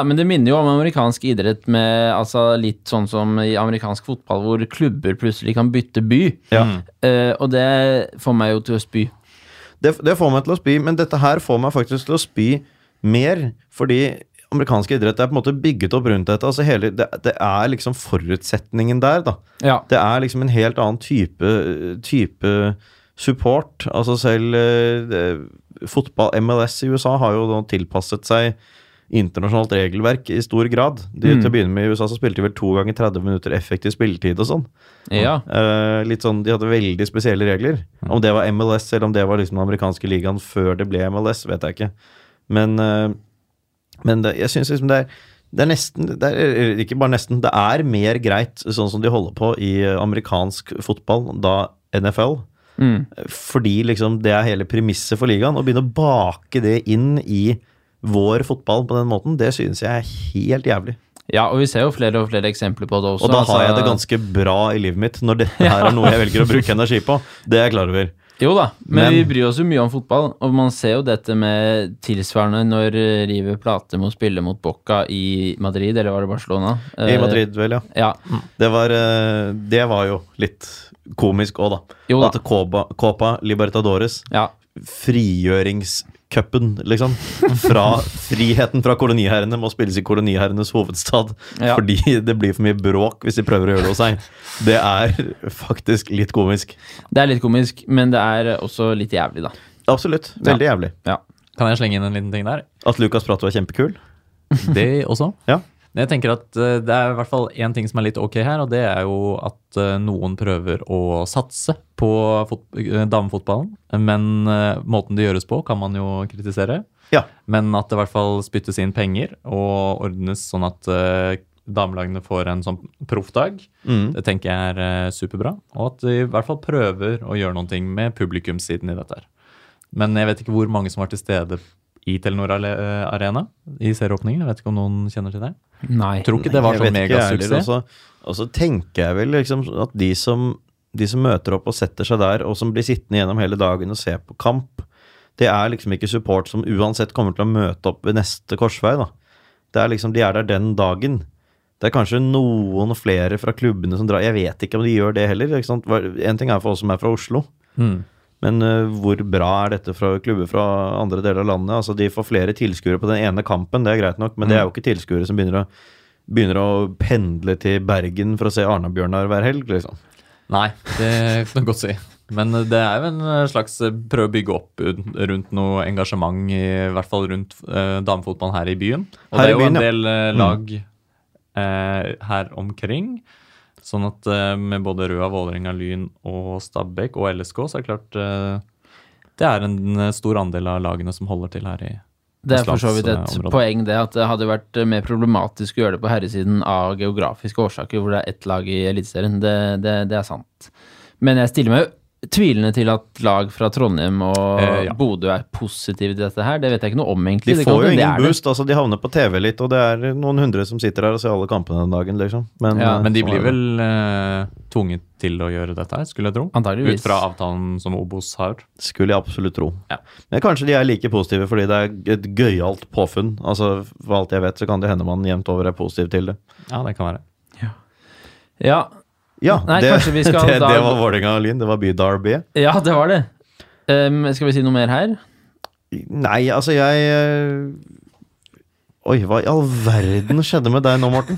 Speaker 1: men det minner jo om amerikansk idrett med altså litt sånn som i amerikansk fotball, hvor klubber plutselig kan bytte by.
Speaker 2: Ja.
Speaker 1: Eh, og det får meg jo til å spy.
Speaker 2: Det, det får meg til å spy, men dette her får meg faktisk til å spy mer, fordi amerikansk idrett er på en måte bygget opp rundt dette. Altså hele, det, det er liksom forutsetningen der, da.
Speaker 1: Ja.
Speaker 2: Det er liksom en helt annen type, type support. Altså selv eh, det- fotball, MLS i USA har jo nå tilpasset seg internasjonalt regelverk i stor grad. De, Til å begynne med i USA så spilte de vel to ganger 30 minutter effektiv spilletid og sånn.
Speaker 1: ja.
Speaker 2: Eh, litt sånn, De hadde veldig spesielle regler. Om det var MLS eller om det var liksom den amerikanske ligaen før det ble MLS, vet jeg ikke. Men, eh, men det, jeg syns liksom det er det er nesten, det er, eller ikke bare nesten, det er mer greit sånn som de holder på i eh, amerikansk fotball, da NFL.
Speaker 1: Mm.
Speaker 2: Fordi liksom det er hele premisset for ligaen. Å begynne å bake det inn i vår fotball på den måten, det synes jeg er helt jævlig.
Speaker 1: ja, og vi ser jo flere og flere eksempler på det også.
Speaker 2: Og da
Speaker 1: altså-
Speaker 2: har jeg det ganske bra i livet mitt, når dette her er noe jeg velger å bruke energi på. Det er jeg klar over.
Speaker 1: Jo da, men,
Speaker 2: Men-
Speaker 1: vi bryr oss jo mye om fotball, og man ser jo dette med tilsvarende når eh, River Plate må spille mot Bocca i Madrid, eller var det Barcelona?
Speaker 2: I
Speaker 1: Eh,
Speaker 2: Madrid, vel, ja.
Speaker 1: Ja.
Speaker 2: Det var, eh, det var jo litt komisk òg, da.
Speaker 1: Jo da.
Speaker 2: At Copa, Copa Libertadores,
Speaker 1: ja.
Speaker 2: frigjøringscupen, liksom, fra friheten fra koloniherrene, må spilles i koloniherrenes hovedstad
Speaker 1: Ja.
Speaker 2: fordi det blir for mye bråk hvis de prøver å gjøre det hos seg. Det er faktisk litt komisk.
Speaker 1: Det er litt komisk, men det er også litt jævlig, da.
Speaker 2: Absolutt. Veldig jævlig.
Speaker 1: Ja.
Speaker 3: Kan jeg slenge inn en liten ting der?
Speaker 2: At Lucas Prato er kjempekul.
Speaker 3: Det også.
Speaker 2: Ja.
Speaker 3: Men Jeg tenker at eh, Det er i hvert fall én ting som er litt ok her, og det er jo at eh, noen prøver å satse på fot eh, damefotballen. Men eh, måten det gjøres på, kan man jo kritisere.
Speaker 2: Ja.
Speaker 3: Men at det i hvert fall spyttes inn penger og ordnes sånn at eh, damelagene får en sånn proffdag,
Speaker 2: Mm.
Speaker 3: det tenker jeg er eh, superbra. Og at de i hvert fall prøver å gjøre noen ting med publikumssiden i dette her. Men jeg vet ikke hvor mange som var til stede i Telenor Ale- eh, Arena i serieåpningen. Jeg vet ikke om noen kjenner til det.
Speaker 1: Nei.
Speaker 3: Jeg tror ikke det var
Speaker 2: Jeg
Speaker 3: sånn
Speaker 2: vet ikke, jeg heller, altså.
Speaker 3: megasuksess.
Speaker 2: Og så- og så tenker jeg vel liksom at de som, de som møter opp og setter seg der, og som blir sittende gjennom hele dagen og ser på kamp, det er liksom ikke support som uansett kommer til å møte opp ved neste korsvei. da. Det er liksom, De er der den dagen. Det er kanskje noen flere fra klubbene som drar. Jeg vet ikke om de gjør det heller. ikke sant? Hva- En ting er for oss som er fra Oslo.
Speaker 3: Mm.
Speaker 2: Men øh, hvor bra er dette fra klubber fra andre deler av landet? Altså, De får flere tilskuere på den ene kampen, det er greit nok, men
Speaker 3: Hmm.
Speaker 2: det er jo ikke tilskuere som begynner å, begynner å pendle til Bergen for å se Arna-Bjørnar hver helg, liksom.
Speaker 3: Nei, det kan du godt si. Men det er jo en slags eh, prøve å bygge opp un- rundt noe engasjement, i hvert fall rundt eh, damefotballen her i byen. Og
Speaker 2: Her i
Speaker 3: det er jo
Speaker 2: byen, ja.
Speaker 3: en del eh, lag eh, her omkring. Sånn at eh, med både Røa, Vålerenga, Lyn og Stabæk og LSK, så er det klart eh, Det er en eh, stor andel av lagene som holder til her i
Speaker 1: Det er for så vidt
Speaker 2: eh,
Speaker 1: et
Speaker 3: Østlandsområdet.
Speaker 1: poeng det at det hadde vært eh, mer problematisk å gjøre det på herresiden av geografiske årsaker, hvor det er ett lag i Eliteserien. Det, det, det er sant. Men jeg stiller meg jo tvilende til at lag fra Trondheim og
Speaker 3: Eh, ja.
Speaker 1: Bodø er positive til dette her. Det vet jeg ikke noe om, egentlig.
Speaker 2: De
Speaker 1: Det kan
Speaker 2: får jo
Speaker 1: hende det
Speaker 2: ingen
Speaker 1: er det.
Speaker 2: boost. altså De havner på TV litt, og det er noen hundre som sitter her og ser alle kampene den dagen, liksom. Men,
Speaker 1: Ja,
Speaker 2: eh,
Speaker 3: Men de
Speaker 2: sånn
Speaker 3: blir
Speaker 2: er det.
Speaker 3: vel eh, tvunget til å gjøre dette her, skulle jeg tro.
Speaker 1: Antageligvis.
Speaker 3: Ut fra avtalen som Obos har.
Speaker 2: Skulle jeg absolutt tro.
Speaker 3: Ja.
Speaker 2: Men kanskje de er like positive fordi det er et gøyalt påfunn. Altså, For alt jeg vet, så kan det hende man jevnt over er positiv til det.
Speaker 3: Ja, det kan være.
Speaker 1: Ja,
Speaker 2: Ja,
Speaker 1: Nei,
Speaker 2: det,
Speaker 1: kanskje vi skal
Speaker 2: det,
Speaker 1: da-
Speaker 2: det var Vålerenga og Lyn. Det var by Derby.
Speaker 1: ja, det var det. Ehm, skal vi si noe mer her?
Speaker 2: Nei, altså jeg eh, Oi, hva i all verden skjedde med deg nå, Morten?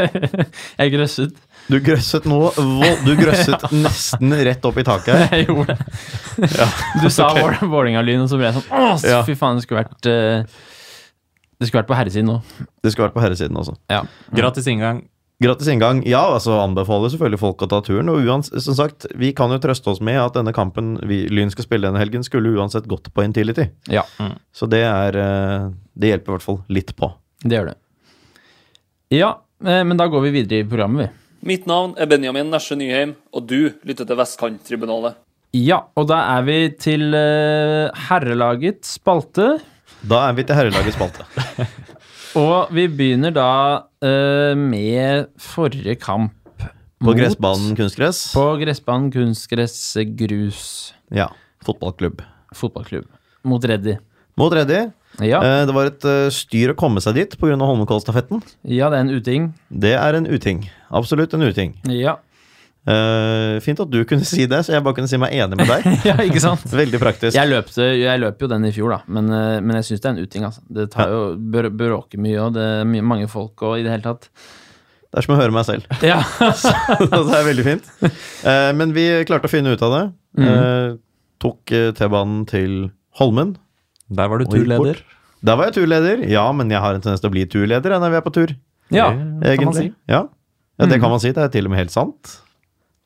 Speaker 1: jeg grøsset.
Speaker 2: Du grøsset nå vo- Du grøsset nesten rett opp i taket her.
Speaker 1: Jeg gjorde det. Du sa okay. Vålerenga-Lyn, og så ble jeg sånn Å, s-
Speaker 2: Ja.
Speaker 1: fy faen, det skulle vært eh, Det skulle vært på herresiden nå.
Speaker 2: Det skulle vært på herresiden også.
Speaker 1: Ja.
Speaker 3: Gratis inngang.
Speaker 2: Gratis inngang. Ja, altså anbefaler selvfølgelig folk å ta turen. Og uans som sagt, vi kan jo trøste oss med at denne kampen vi, Lyn skal spille denne helgen, skulle uansett gått på Intility.
Speaker 1: ja.
Speaker 2: Så det er eh, Det hjelper i hvert fall litt på.
Speaker 1: Det gjør det. Ja, eh, men da går vi videre i programmet, vi.
Speaker 6: Mitt navn er Benjamin Nesje Nyheim, og du lytter til Vestkanttribunalet.
Speaker 1: Ja, og da er vi til eh, herrelagets spalte.
Speaker 2: Da er vi til herrelagets spalte.
Speaker 1: Og vi begynner da eh, med forrige kamp.
Speaker 2: På
Speaker 1: mot-
Speaker 2: gressbanen kunstgress.
Speaker 1: På gressbanen kunstgress grus
Speaker 2: Ja. Fotballklubb.
Speaker 1: fotballklubb. Mot Reddy.
Speaker 2: Mot Reddy.
Speaker 1: Ja,
Speaker 2: Eh, det var et eh, styr å komme seg dit pga. Holmenkollstafetten.
Speaker 1: ja, det er en uting.
Speaker 2: Det er en uting. Absolutt en uting.
Speaker 1: Ja.
Speaker 2: Eh, fint at du kunne si det, så jeg bare kunne si meg enig med deg.
Speaker 1: ja, ikke sant?
Speaker 2: Veldig praktisk.
Speaker 1: Jeg, løpte, jeg løp jo den i fjor, da, men, eh, men jeg syns det er en uting. Altså. Det tar jo br bråker mye, og det er mye, mange folk og i det hele tatt.
Speaker 2: Det er som å høre meg selv.
Speaker 1: Ja,
Speaker 2: det er veldig fint. Eh, men vi klarte å finne ut av det.
Speaker 3: Mhm.
Speaker 2: Eh, tok eh, T-banen til Holmen.
Speaker 3: Der var du
Speaker 2: Og gikk bort.
Speaker 3: turleder.
Speaker 2: Der var jeg turleder. Ja, men jeg har en tendens til å bli turleder jeg, når vi er på tur.
Speaker 1: ja.
Speaker 3: Det
Speaker 2: Egentlig.
Speaker 3: kan man si. Mhm.
Speaker 2: Ja. ja, det kan man si. Det er til og med helt sant.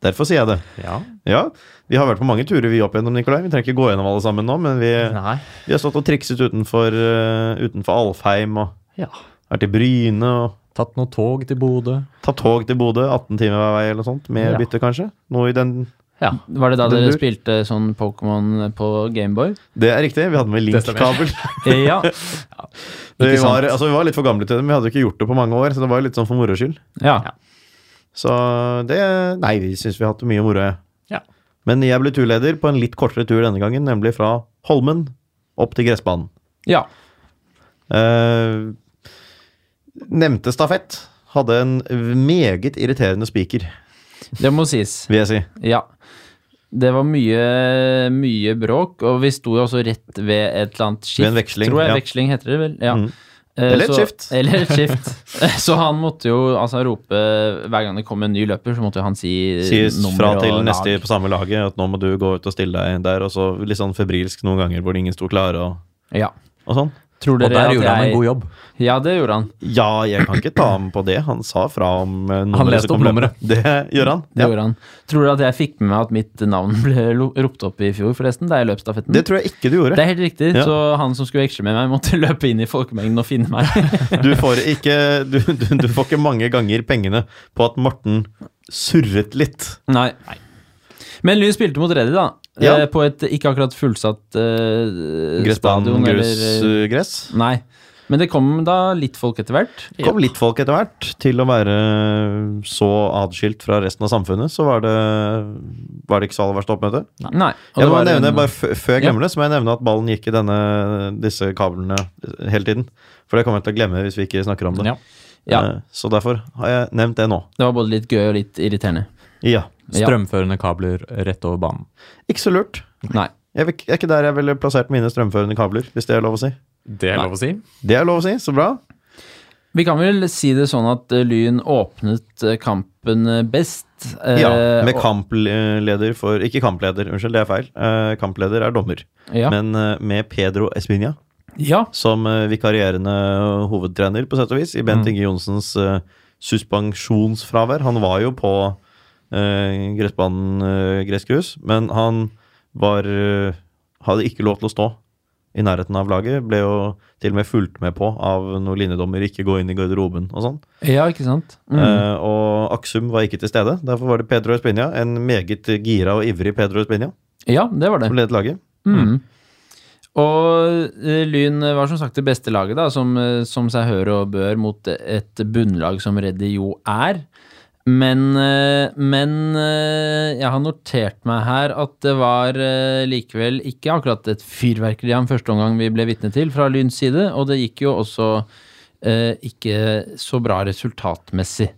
Speaker 2: Derfor sier jeg det.
Speaker 3: Ja.
Speaker 2: Ja, Vi har vært på mange turer vi opp gjennom, Nikolai. Vi trenger ikke gå gjennom alle sammen nå, men vi,
Speaker 3: Nei.
Speaker 2: vi har stått og trikset utenfor, eh, utenfor Alfheim og
Speaker 3: Ja.
Speaker 2: vært i Bryne og
Speaker 3: Tatt noe tog til Bodø.
Speaker 2: Ta tog til Bodø, 18 timer hver vei eller noe sånt, med
Speaker 3: Ja.
Speaker 2: bytte kanskje? Noe i den
Speaker 3: Ja.
Speaker 1: Var det da
Speaker 2: Den
Speaker 1: dere
Speaker 2: dur.
Speaker 1: spilte sånn Pokémon på Gameboy?
Speaker 2: Det er riktig, vi hadde med
Speaker 3: Det stemmer.
Speaker 2: link-kabel.
Speaker 1: Ja.
Speaker 2: Vi,
Speaker 1: Ikke sant.
Speaker 2: Eh, var- altså, vi var litt for gamle til det, men vi hadde jo ikke gjort det på mange år, så det var jo litt sånn for moro skyld.
Speaker 1: ja.
Speaker 2: Så det Nei, vi syns vi har hatt mye moro. jeg.
Speaker 3: Ja.
Speaker 2: Men jeg ble turleder på en litt kortere tur denne gangen, nemlig fra Holmen opp til gressbanen.
Speaker 1: Ja.
Speaker 2: Eh, nevnte stafett hadde en meget irriterende spiker,
Speaker 1: Det må sies.
Speaker 2: vil jeg si.
Speaker 1: Ja. Det var mye, mye bråk, og vi sto jo også rett ved et eller annet skift.
Speaker 2: Ved en veksling,
Speaker 1: Tror jeg.
Speaker 2: ja.
Speaker 1: Veksling heter det vel. Ja.
Speaker 2: Mm.
Speaker 1: Eh,
Speaker 2: Eller et
Speaker 1: så-
Speaker 2: skift.
Speaker 1: Eller et skift. Eh, så han måtte jo altså rope Hver gang det kom en ny løper, så måtte jo han si
Speaker 2: Sies
Speaker 1: nummer
Speaker 2: fra
Speaker 1: og
Speaker 2: til
Speaker 1: lag.
Speaker 2: neste på samme laget at nå må du gå ut og stille deg der, og så litt sånn febrilsk noen ganger hvor ingen sto klare og,
Speaker 1: Ja.
Speaker 2: og sånn.
Speaker 1: Tror
Speaker 3: Og
Speaker 1: dere
Speaker 3: der
Speaker 1: at
Speaker 3: gjorde han
Speaker 1: jeg
Speaker 3: en god jobb.
Speaker 1: Ja, det gjorde han.
Speaker 2: Ja, jeg kan ikke ta ham på det. Han sa fra om eh, nummeret.
Speaker 3: leste
Speaker 2: som
Speaker 3: opp
Speaker 2: kom
Speaker 3: nummeret.
Speaker 2: løpende. Det gjør han.
Speaker 1: Det
Speaker 2: Ja.
Speaker 1: gjorde han. Tror dere at jeg fikk med meg at mitt navn ble lo- ropt opp i fjor, forresten? Da jeg løp stafetten?
Speaker 2: Det tror jeg ikke du
Speaker 1: Det
Speaker 2: gjorde.
Speaker 1: er helt riktig.
Speaker 2: Ja.
Speaker 1: Så han som skulle veksle med meg, måtte løpe inn i folkemengden og finne meg.
Speaker 2: Du får, ikke, du, du, du får ikke mange ganger pengene på at Morten surret litt.
Speaker 1: Nei. Men Lyn spilte mot Reddy, da.
Speaker 2: Ja.
Speaker 1: Eh, På et ikke akkurat fullsatt eh,
Speaker 2: Gressbanen,
Speaker 1: stadion.
Speaker 2: grus,
Speaker 1: Eller,
Speaker 2: eh, gress.
Speaker 1: nei. Men det kom da litt folk etter hvert.
Speaker 2: kom litt folk etter hvert til å være så adskilt fra resten av samfunnet, så var det, var det ikke så aller verst oppmøte.
Speaker 1: Nei. og
Speaker 2: Jeg må
Speaker 1: var
Speaker 2: nevne,
Speaker 1: en-
Speaker 2: bare f- Før jeg glemmer det, så må jeg nevne at ballen gikk i denne, disse kablene hele tiden. For det kommer jeg til å glemme hvis vi ikke snakker om det.
Speaker 3: Ja.
Speaker 1: Ja,
Speaker 2: Eh, Så derfor har jeg nevnt det nå.
Speaker 1: det var både litt gøy og litt irriterende.
Speaker 2: Ja.
Speaker 1: Ja.
Speaker 3: Strømførende kabler rett over banen.
Speaker 2: Ikke så lurt.
Speaker 1: Nei.
Speaker 2: Jeg vil- er ikke der jeg ville plassert mine strømførende kabler, hvis det er lov å si.
Speaker 3: Det er lov å si.
Speaker 2: Det er lov å si, så bra.
Speaker 1: Vi kan vel si det sånn at eh, Lyn åpnet eh, kampen eh, best. eh,
Speaker 2: Ja, med
Speaker 1: og-
Speaker 2: kampleder for Ikke kampleder, unnskyld, det er feil. Eh, Kampleder er dommer.
Speaker 1: Ja.
Speaker 2: Men eh, med Pedro Espinha
Speaker 1: ja.
Speaker 2: som eh, vikarierende eh, hovedtrener, på sett og vis, i
Speaker 1: Mm.
Speaker 2: Bent Inge Johnsens eh, suspensjonsfravær. Han var jo på eh, gressbanen eh, gressgrus, men han var eh, hadde ikke lov til å stå i nærheten av laget. Ble jo til og med fulgt med på av noen linjedommer, ikke gå inn i garderoben og sånn.
Speaker 1: ja, ikke sant? Mm.
Speaker 2: Eh, og Aksum var ikke til stede. Derfor var det Pedro Espinha, en meget gira og ivrig Pedro Espinha,
Speaker 1: ja, det var det.
Speaker 2: som ledet laget.
Speaker 1: Mm. Og eh, Lyn var som sagt det beste laget, da, som, eh, som seg hør og bør mot et bunnlag som Reddy jo er. Men, eh, men eh, jeg har notert meg her at det var eh, likevel ikke akkurat et fyrverkeri av en første omgang vi ble vitne til fra Lyns side, og det gikk jo også eh, ikke så bra resultatmessig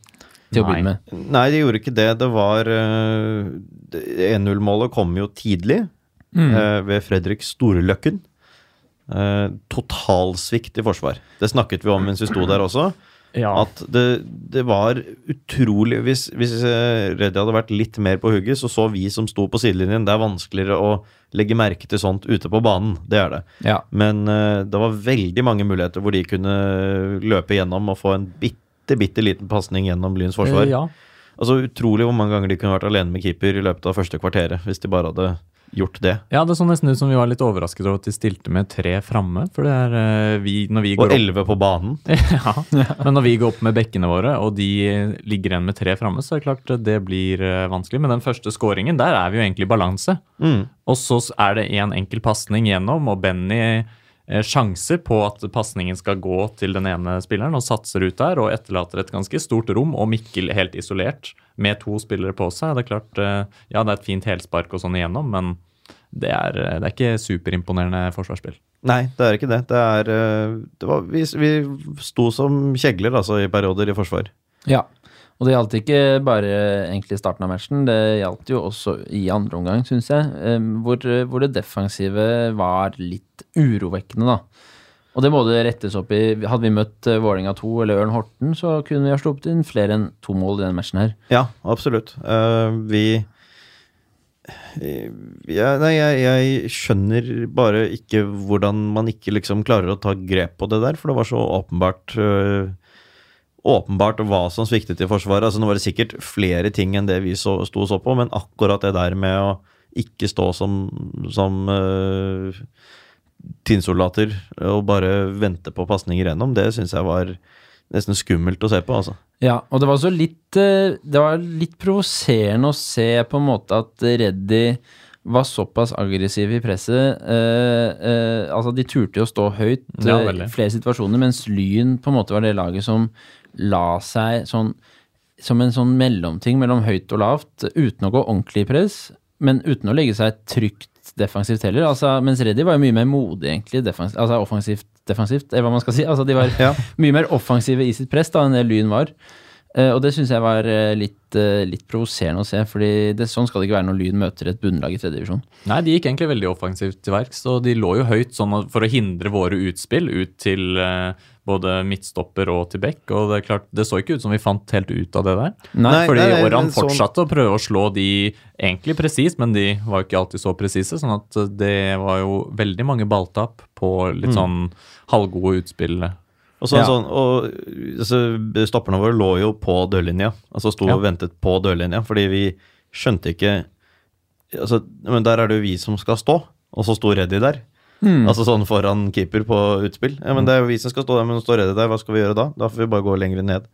Speaker 1: til å
Speaker 3: Nei.
Speaker 1: begynne med.
Speaker 2: Nei, de gjorde ikke det. Det var eh, det- 1-0-målet kom jo tidlig,
Speaker 3: Mm.
Speaker 2: eh, ved Fredrik Storløkken. Eh, totalsvikt i forsvar. Det snakket vi om mens vi sto der også.
Speaker 3: Ja.
Speaker 2: At det, det var utrolig Hvis, hvis eh, Reddy hadde vært litt mer på hugget, så så vi som sto på sidelinjen Det er vanskeligere å legge merke til sånt ute på banen. Det er det.
Speaker 1: Ja.
Speaker 2: Men eh, det var veldig mange muligheter hvor de kunne løpe gjennom og få en bitte, bitte liten pasning gjennom Lyns forsvar.
Speaker 3: Eh, Ja.
Speaker 2: Altså Utrolig hvor mange ganger de kunne vært alene med keeper i løpet av første kvarteret, hvis de bare hadde gjort det.
Speaker 3: ja, det så nesten ut som vi var litt overrasket over at de stilte med tre framme. For det er eh, vi, når vi
Speaker 2: Og
Speaker 3: går opp
Speaker 2: elleve på banen.
Speaker 3: ja. Men når vi går opp med bekkene våre, og de ligger igjen med tre framme, så er det klart det blir eh, vanskelig. Men den første scoringen, der er vi jo egentlig i balanse. Og så er det én en enkel pasning gjennom, og Benny eh, sjanser på at pasningen skal gå til den ene spilleren, og satser ut der og etterlater et ganske stort rom, og Mikkel helt isolert med to spillere på seg. Det er klart, eh, ja det er et fint helspark og sånn igjennom, men det er, eh, det er ikke superimponerende forsvarsspill.
Speaker 2: Nei, det er ikke det. Det er eh, det var, vi, vi sto som kjegler altså, i perioder i forsvar.
Speaker 1: Ja, og det gjaldt ikke bare egentlig starten av matchen, det gjaldt jo også i andre omgang, syns jeg, eh, hvor, hvor det defensive var litt urovekkende, da. Og det må det rettes opp i. Hadde vi møtt eh, Vålerenga 2 eller Ørn Horten, så kunne vi ha sluppet inn flere enn to mål i denne matchen her.
Speaker 2: Ja, absolutt. Eh, vi eh, ja, Nei, jeg, jeg skjønner bare ikke hvordan man ikke liksom klarer å ta grep på det der, for det var så åpenbart eh, Åpenbart hva som sviktet i Forsvaret. Altså, nå var det sikkert flere ting enn det vi så, sto og så på, men akkurat det der med å ikke stå som, som eh, tinnsoldater og bare vente på pasninger gjennom, det syns jeg var nesten skummelt å se på, altså.
Speaker 1: Ja, og det var også litt eh, Det var litt provoserende å se på en måte at Reddy var såpass aggressiv i presset. eh, eh, altså, de turte jo å stå høyt eh,
Speaker 3: Ja,
Speaker 1: i
Speaker 3: veldig.
Speaker 1: flere situasjoner, mens Lyn på en måte var det laget som la seg sånn som en sånn mellomting mellom høyt og lavt, uten å gå ordentlig i press, men uten å legge seg trygt defensivt heller. Altså, mens Reddy var jo mye mer modig, egentlig, defens altså offensivt defensivt, er hva man skal si. Altså, de var mye mer offensive i sitt press da enn det Lyn var. Eh, og det syns jeg var eh, litt, eh, litt provoserende å se, fordi det, sånn skal det ikke være når Lyn møter et bunnlag i tredje divisjon.
Speaker 3: Nei, de gikk egentlig veldig offensivt til verks, og de lå jo høyt sånn at- for å hindre våre utspill ut til eh, både midtstopper og til bekk, og det er klart, det så ikke ut som vi fant helt ut av det der.
Speaker 1: Nei,
Speaker 3: Fordi
Speaker 2: nei, nei,
Speaker 3: Oran
Speaker 2: men sånn-
Speaker 3: fortsatte å prøve å slå de egentlig presist, men de var jo ikke alltid så presise, sånn at det var jo veldig mange balltap på
Speaker 2: Mm.
Speaker 3: litt sånn halvgode utspill. eh,
Speaker 2: Og så en
Speaker 1: Ja.
Speaker 2: sånn, og så Stopperne våre lå jo på dørlinja, altså sto
Speaker 3: Ja.
Speaker 2: og ventet på dørlinja, fordi vi skjønte ikke altså, Men der er det jo vi som skal stå, og så sto Reddy der. Altså sånn foran keeper på utspill. Ja, men det er jo vi som skal stå der, men nå står Reddy der, hva skal vi gjøre da? Da får vi bare gå lenger ned.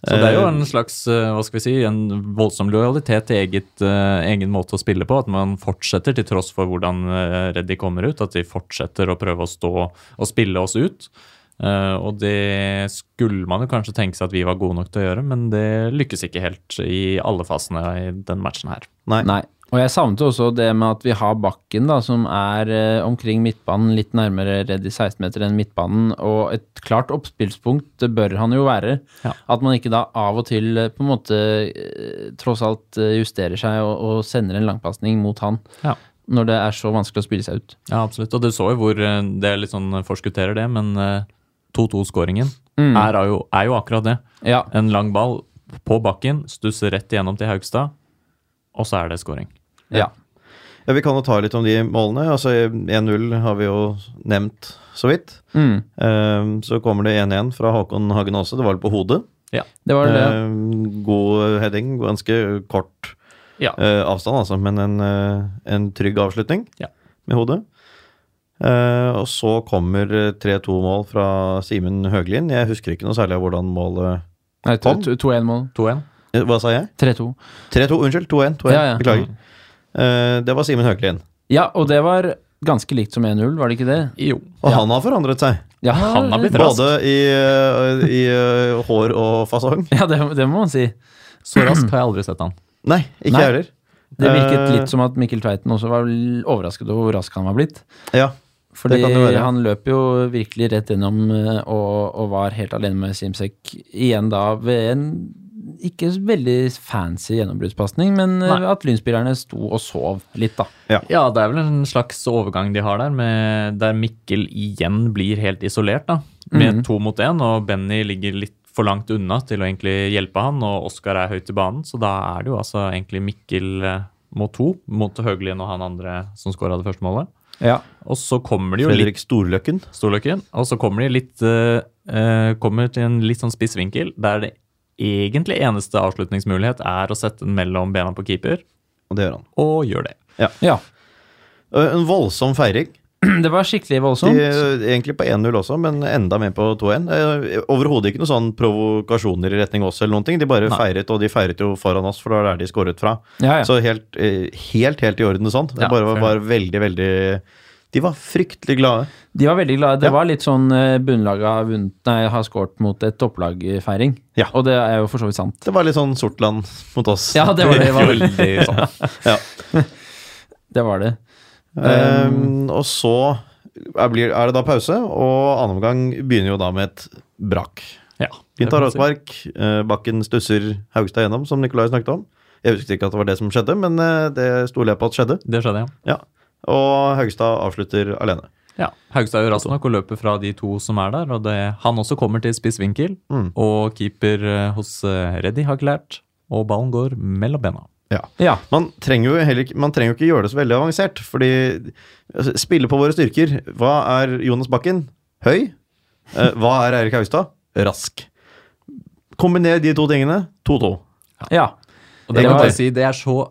Speaker 3: Så det er jo en slags, eh, hva skal vi si, en voldsom lojalitet til eget, eh, egen måte å spille på. At man fortsetter til tross for hvordan eh, Reddy kommer ut. At de fortsetter å prøve å stå og spille oss ut. Eh, og det skulle man jo kanskje tenke seg at vi var gode nok til å gjøre, men det lykkes ikke helt i alle fasene i den matchen her.
Speaker 2: Nei.
Speaker 1: Nei. Og jeg savnet også det med at vi har bakken, da, som er eh, omkring midtbanen, litt nærmere Reddy 16-meter enn midtbanen, og et klart oppspillspunkt, det bør han jo være.
Speaker 3: Ja.
Speaker 1: At man ikke da av og til eh, på en måte eh, tross alt eh, justerer seg og, og sender en langpasning mot han,
Speaker 3: Ja.
Speaker 1: når det er så vanskelig å spille seg ut.
Speaker 3: Ja, absolutt. Og du så jo hvor eh, Det er litt sånn forskutterer det, men eh, 2-2-skåringen er, jo- er jo akkurat det.
Speaker 1: Ja.
Speaker 3: En lang ball på bakken, stusser rett igjennom til Haugstad, og så er det scoring.
Speaker 1: ja.
Speaker 2: Ja, Vi kan jo ta litt om de målene. Altså 1-0 har vi jo nevnt så vidt.
Speaker 1: Mm.
Speaker 2: Ehm, Så kommer det 1-1 fra Håkon Hagen også. Det var vel på hodet.
Speaker 3: Ja.
Speaker 1: Det var det.
Speaker 2: Ehm, God heading, ganske kort
Speaker 3: Ja.
Speaker 2: eh, avstand, altså, men en, eh, en trygg avslutning
Speaker 3: Ja.
Speaker 2: med hodet. Eh, og så kommer eh, 3-2-mål fra Simen Høglien. Jeg husker ikke noe særlig av hvordan målet
Speaker 1: Nei, to-
Speaker 2: Kom.
Speaker 1: to- 2-1-mål.
Speaker 3: 2-1.
Speaker 2: Eh, Hva sa jeg?
Speaker 1: 3-2.
Speaker 2: 3-2, unnskyld. 2-1. 2-1,
Speaker 1: Ja, ja.
Speaker 2: Beklager. Eh, det var Simen Høglien.
Speaker 1: Ja, og det var ganske likt som 1-0, var det ikke det?
Speaker 3: Jo.
Speaker 2: Og han har forandret seg.
Speaker 1: Ja,
Speaker 3: Han har blitt rask.
Speaker 2: Både i, eh, i eh, hår og fasong.
Speaker 1: Ja, det, det må man si.
Speaker 3: Så rask har jeg aldri sett han.
Speaker 2: Nei, ikke
Speaker 1: Nei.
Speaker 2: jeg heller.
Speaker 1: Det virket
Speaker 2: Eh,
Speaker 1: litt som at Mikkel Tveiten også var l- overrasket over hvor rask han var blitt.
Speaker 2: Ja.
Speaker 1: Fordi
Speaker 2: kan det være.
Speaker 1: han løp jo virkelig rett gjennom eh, og, og var helt alene med Simsek igjen da ved en ikke så veldig fancy gjennombruddspasning, men eh,
Speaker 3: Nei.
Speaker 1: at lynspillerne sto og sov litt, da.
Speaker 3: Ja, det er vel en slags overgang de har der, med, der Mikkel igjen blir helt isolert, da. Med to mot én, og Benny ligger litt for langt unna til å egentlig hjelpe han, og Oskar er høyt i banen, så da er det jo altså egentlig Mikkel eh, mot to, mot Høglien og han andre som scora det første målet.
Speaker 1: Ja.
Speaker 3: Og så kommer de jo litt
Speaker 2: Fredrik Storløkken.
Speaker 3: Storløkken, og så kommer de litt eh, eh, Kommer til en litt sånn spiss vinkel, der det egentlig eneste avslutningsmulighet er å sette den mellom bena på keeper,
Speaker 2: Og det gjør han.
Speaker 3: og gjør det.
Speaker 1: ja.
Speaker 2: Eh, En voldsom feiring.
Speaker 1: Det var skikkelig voldsomt.
Speaker 2: De, egentlig på 1-0 også, men enda mer på 2-1. Eh, Overhodet ikke noen sånn provokasjoner i retning oss eller noen ting. De bare feiret, og de feiret jo foran oss, for det var der de skåret fra.
Speaker 1: Ja, ja.
Speaker 2: Så helt, eh, helt, helt i orden sånn. Det
Speaker 3: Ja,
Speaker 2: bare var,
Speaker 3: fair.
Speaker 2: var veldig, veldig De var fryktelig glade.
Speaker 1: De var veldig glade. Det
Speaker 2: Ja.
Speaker 1: var litt sånn eh, bunnlaget har vunnet, nei, har skåret mot et topplagfeiring.
Speaker 2: Ja.
Speaker 1: Og det er jo for så vidt sant.
Speaker 2: Det var litt sånn Sortland mot oss.
Speaker 1: Ja, det var det. Var,
Speaker 3: Veldig sånn.
Speaker 1: det, var det. Um,
Speaker 2: Ehm, og så er, blir, er det da pause, og annen omgang begynner jo da med et brak.
Speaker 3: Ja,
Speaker 2: Fint
Speaker 3: det
Speaker 2: av
Speaker 3: kan man si.
Speaker 2: Rosmark. eh, Bakken stusser Haugstad gjennom, som Nikolai snakket om. Jeg husket ikke at det var det som skjedde, men eh, det stoler jeg på at skjedde.
Speaker 3: Det skjedde, ja.
Speaker 2: Ja. Og Haugstad avslutter alene.
Speaker 3: ja. Haugstad er jo rask nok og løper fra de to som er der. Og det, han også kommer til spiss vinkel,
Speaker 2: Mm.
Speaker 3: og keeper eh, hos eh, Reddy har ikke lært. Og ballen går mellom bena.
Speaker 1: Ja.
Speaker 2: Man trenger jo heller ikke, man trenger jo ikke gjøre det så veldig avansert, fordi altså, spille på våre styrker. Hva er Jonas Bakken? Høy. Eh, Hva er Eirik Haugstad? Rask. Kombiner de to tingene. 2-2.
Speaker 1: ja.
Speaker 3: Og det,
Speaker 1: Det
Speaker 3: må
Speaker 1: var-
Speaker 3: jeg bare si, det er så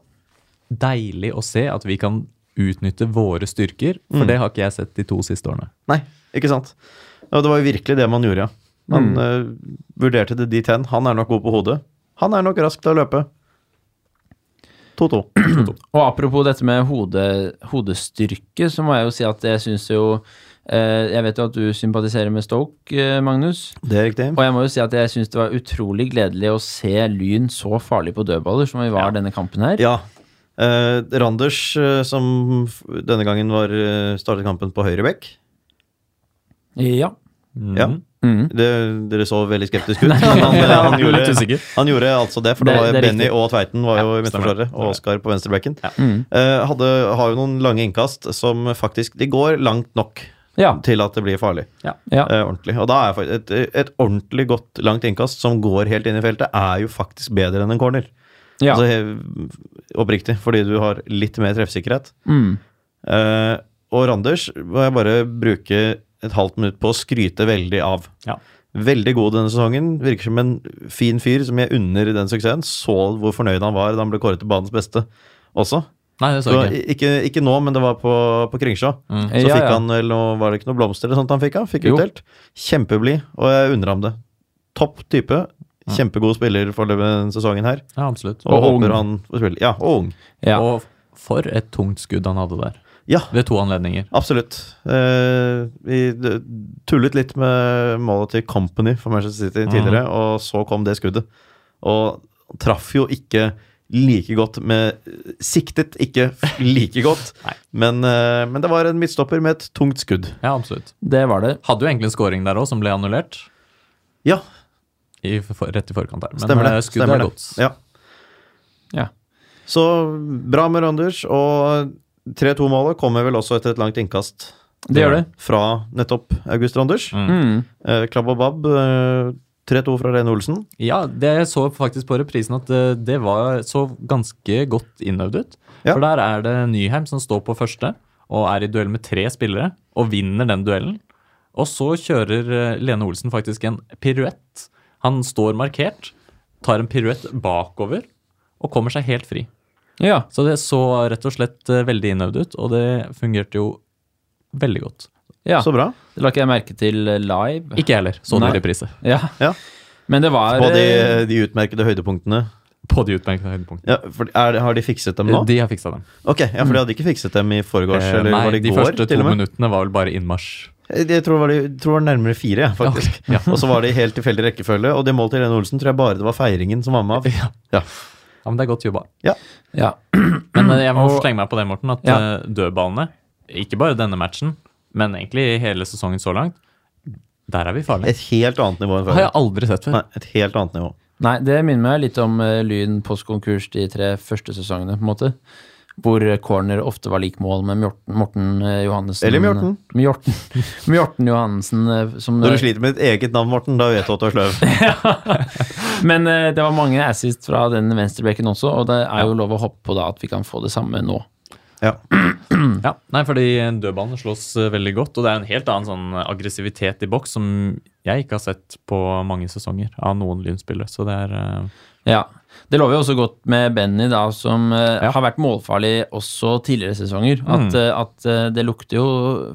Speaker 3: deilig å se at vi kan utnytte våre styrker, for det har ikke jeg sett de to siste årene.
Speaker 2: Nei, ikke sant? Og det var jo virkelig det man gjorde, ja. Man eh, vurderte det dit hen. Han er nok god på hodet. Han er nok rask til å løpe. 2-2.
Speaker 1: Og apropos dette med hode, hodestyrke, så må jeg jo si at jeg syns jo eh, Jeg vet jo at du sympatiserer med Stoke, eh, Magnus.
Speaker 2: Det er riktig.
Speaker 1: Og jeg må jo si at jeg syns det var utrolig gledelig å se Lyn så farlig på dødballer som vi var denne kampen her.
Speaker 2: Ja. Eh, Randers, eh, som f- denne gangen var, eh, startet kampen på høyre bekk.
Speaker 1: Ja.
Speaker 2: Ja.
Speaker 1: Mhm.
Speaker 2: Det, dere så veldig skeptisk ut. men han, eh, han,
Speaker 3: jeg ble litt
Speaker 2: gjorde,
Speaker 3: usikker.
Speaker 2: han gjorde altså det, for det,
Speaker 1: Det-
Speaker 2: var
Speaker 1: det er
Speaker 2: Benny
Speaker 1: riktig.
Speaker 2: og Tveiten var jo i
Speaker 3: stemmer det,
Speaker 2: midtforsvaret,
Speaker 3: stemmer
Speaker 2: og
Speaker 3: det.
Speaker 2: Oskar på venstrebekken.
Speaker 1: Mm.
Speaker 2: Eh, hadde, har jo noen lange innkast som faktisk De går langt nok
Speaker 1: Ja.
Speaker 2: til at det blir farlig.
Speaker 1: ja.
Speaker 2: Eh, ordentlig. Og da er fakt- et, et ordentlig godt langt innkast som går helt inn i feltet, er jo faktisk bedre enn en corner.
Speaker 1: ja.
Speaker 2: Altså, he- oppriktig, fordi du har litt mer treffsikkerhet.
Speaker 1: Mm.
Speaker 2: Eh, og Randers må jeg bare bruke et halvt minutt på å skryte veldig av.
Speaker 3: Ja.
Speaker 2: Veldig god denne sesongen. Virker som en fin fyr som jeg unner den suksessen. Så hvor fornøyd han var da han ble kåret til banens beste også.
Speaker 3: Nei, det
Speaker 2: Så
Speaker 3: så jeg ikke.
Speaker 2: ikke, ikke nå, men det var på, på Kringsjå. Så
Speaker 1: Ja,
Speaker 2: fikk
Speaker 1: ja.
Speaker 2: han vel noe, var det ikke noe blomster eller sånt han fikk? Han fikk
Speaker 1: Jo.
Speaker 2: utdelt. Kjempeblid, og jeg unner ham det. Topp type. Kjempegod spiller for denne sesongen her.
Speaker 3: Ja, absolutt.
Speaker 2: Og,
Speaker 1: Og ung.
Speaker 2: håper han får spille. Ja, og ung.
Speaker 1: ja.
Speaker 3: Og for et tungt skudd han hadde der.
Speaker 2: Ja,
Speaker 3: Ved to anledninger.
Speaker 2: absolutt. Eh, vi d- tullet litt med målet til Company for Manchester
Speaker 3: Mhm.
Speaker 2: City tidligere, og så kom det skuddet. Og traff jo ikke like godt med Siktet ikke like godt,
Speaker 3: Nei.
Speaker 2: men, eh, men det var en midtstopper med et tungt skudd.
Speaker 3: Ja, absolutt.
Speaker 1: Det var det.
Speaker 3: Hadde jo egentlig en scoring der òg, som ble annullert.
Speaker 2: Ja,
Speaker 3: I, for, rett i forkant her. Men
Speaker 2: Stemmer det.
Speaker 3: eh, skuddet
Speaker 2: Stemmer
Speaker 3: er
Speaker 2: det.
Speaker 3: godt.
Speaker 2: Ja.
Speaker 1: Ja.
Speaker 2: Så bra med Randers. Og 3-2-målet kommer vel også etter et langt innkast
Speaker 1: Det gjør det.
Speaker 2: fra nettopp August Randers.
Speaker 1: Mm.
Speaker 2: Eh, Klabb og Babb, eh, 3-2 fra Rene Olsen.
Speaker 3: Ja, det jeg så faktisk på reprisen at eh, det, det var så ganske godt innøvd ut.
Speaker 2: Ja.
Speaker 3: For der er det Nyheim som står på første og er i duell med tre spillere og vinner den duellen. Og så kjører eh, Lene Olsen faktisk en piruett. Han står markert, tar en piruett bakover og kommer seg helt fri.
Speaker 1: Ja.
Speaker 3: Så det så rett og slett eh, veldig innøvd ut, og det fungerte jo veldig godt.
Speaker 1: ja.
Speaker 2: Så bra.
Speaker 1: Det la ikke jeg merke til live.
Speaker 3: Ikke jeg heller, så
Speaker 1: Nei.
Speaker 3: det i reprise.
Speaker 1: Ja.
Speaker 2: Ja.
Speaker 1: Men det var
Speaker 2: På
Speaker 1: eh,
Speaker 2: de, de utmerkede høydepunktene.
Speaker 3: På de utmerkede høydepunktene.
Speaker 2: Ja, for er, det- har de fikset dem nå?
Speaker 3: De har fiksa dem.
Speaker 2: Ok, ja, for de hadde ikke fikset dem i foregårs,
Speaker 3: Eh,
Speaker 2: eller
Speaker 3: Nei,
Speaker 2: var det i
Speaker 3: de
Speaker 2: går?
Speaker 3: første to
Speaker 2: til og med? Eh,
Speaker 3: minuttene var vel bare innmarsj.
Speaker 2: Jeg tror det var, de, tror det var nærmere fire, ja, faktisk.
Speaker 3: Ok, ja.
Speaker 2: Og så var det i helt tilfeldig rekkefølge, og det målet til Lene Olsen tror jeg bare det var feiringen som var med av.
Speaker 3: Ja.
Speaker 2: Ja.
Speaker 3: men det er godt jobba.
Speaker 1: ja.
Speaker 3: Men eh, jeg må
Speaker 1: Og-
Speaker 3: slenge meg på det, Morten, at
Speaker 1: Ja.
Speaker 3: eh, dødballene, ikke bare denne matchen, men egentlig hele sesongen så langt, der er vi farlige.
Speaker 2: Et helt annet nivå enn
Speaker 3: Det har
Speaker 2: før.
Speaker 3: jeg aldri sett før.
Speaker 2: Nei, et helt annet nivå.
Speaker 1: Nei, det minner meg litt om eh, Lyn postkonkurs de tre første sesongene, på en måte. Hvor eh, corner ofte var lik mål med Morten, Morten eh, Johannessen.
Speaker 2: Eller Mjorten.
Speaker 1: Mjorten, Mjorten Johannessen eh, som
Speaker 2: Når du sliter med ditt eget navn, Morten, da vet du at du er sløv.
Speaker 1: Men eh, det var mange assist fra den venstrebekken også, og det er jo lov å hoppe på da at vi kan få det samme nå.
Speaker 2: Ja.
Speaker 3: Ja, nei, fordi dødballene slås eh, veldig godt, og det er en helt annen sånn aggressivitet i boks som jeg ikke har sett på mange sesonger av noen Lynspillere. Så det er eh,
Speaker 1: Ja. Det lover jo også godt med Benny, da, som eh, har vært målfarlig også tidligere sesonger.
Speaker 2: Mm.
Speaker 1: At, eh, at eh, det lukter jo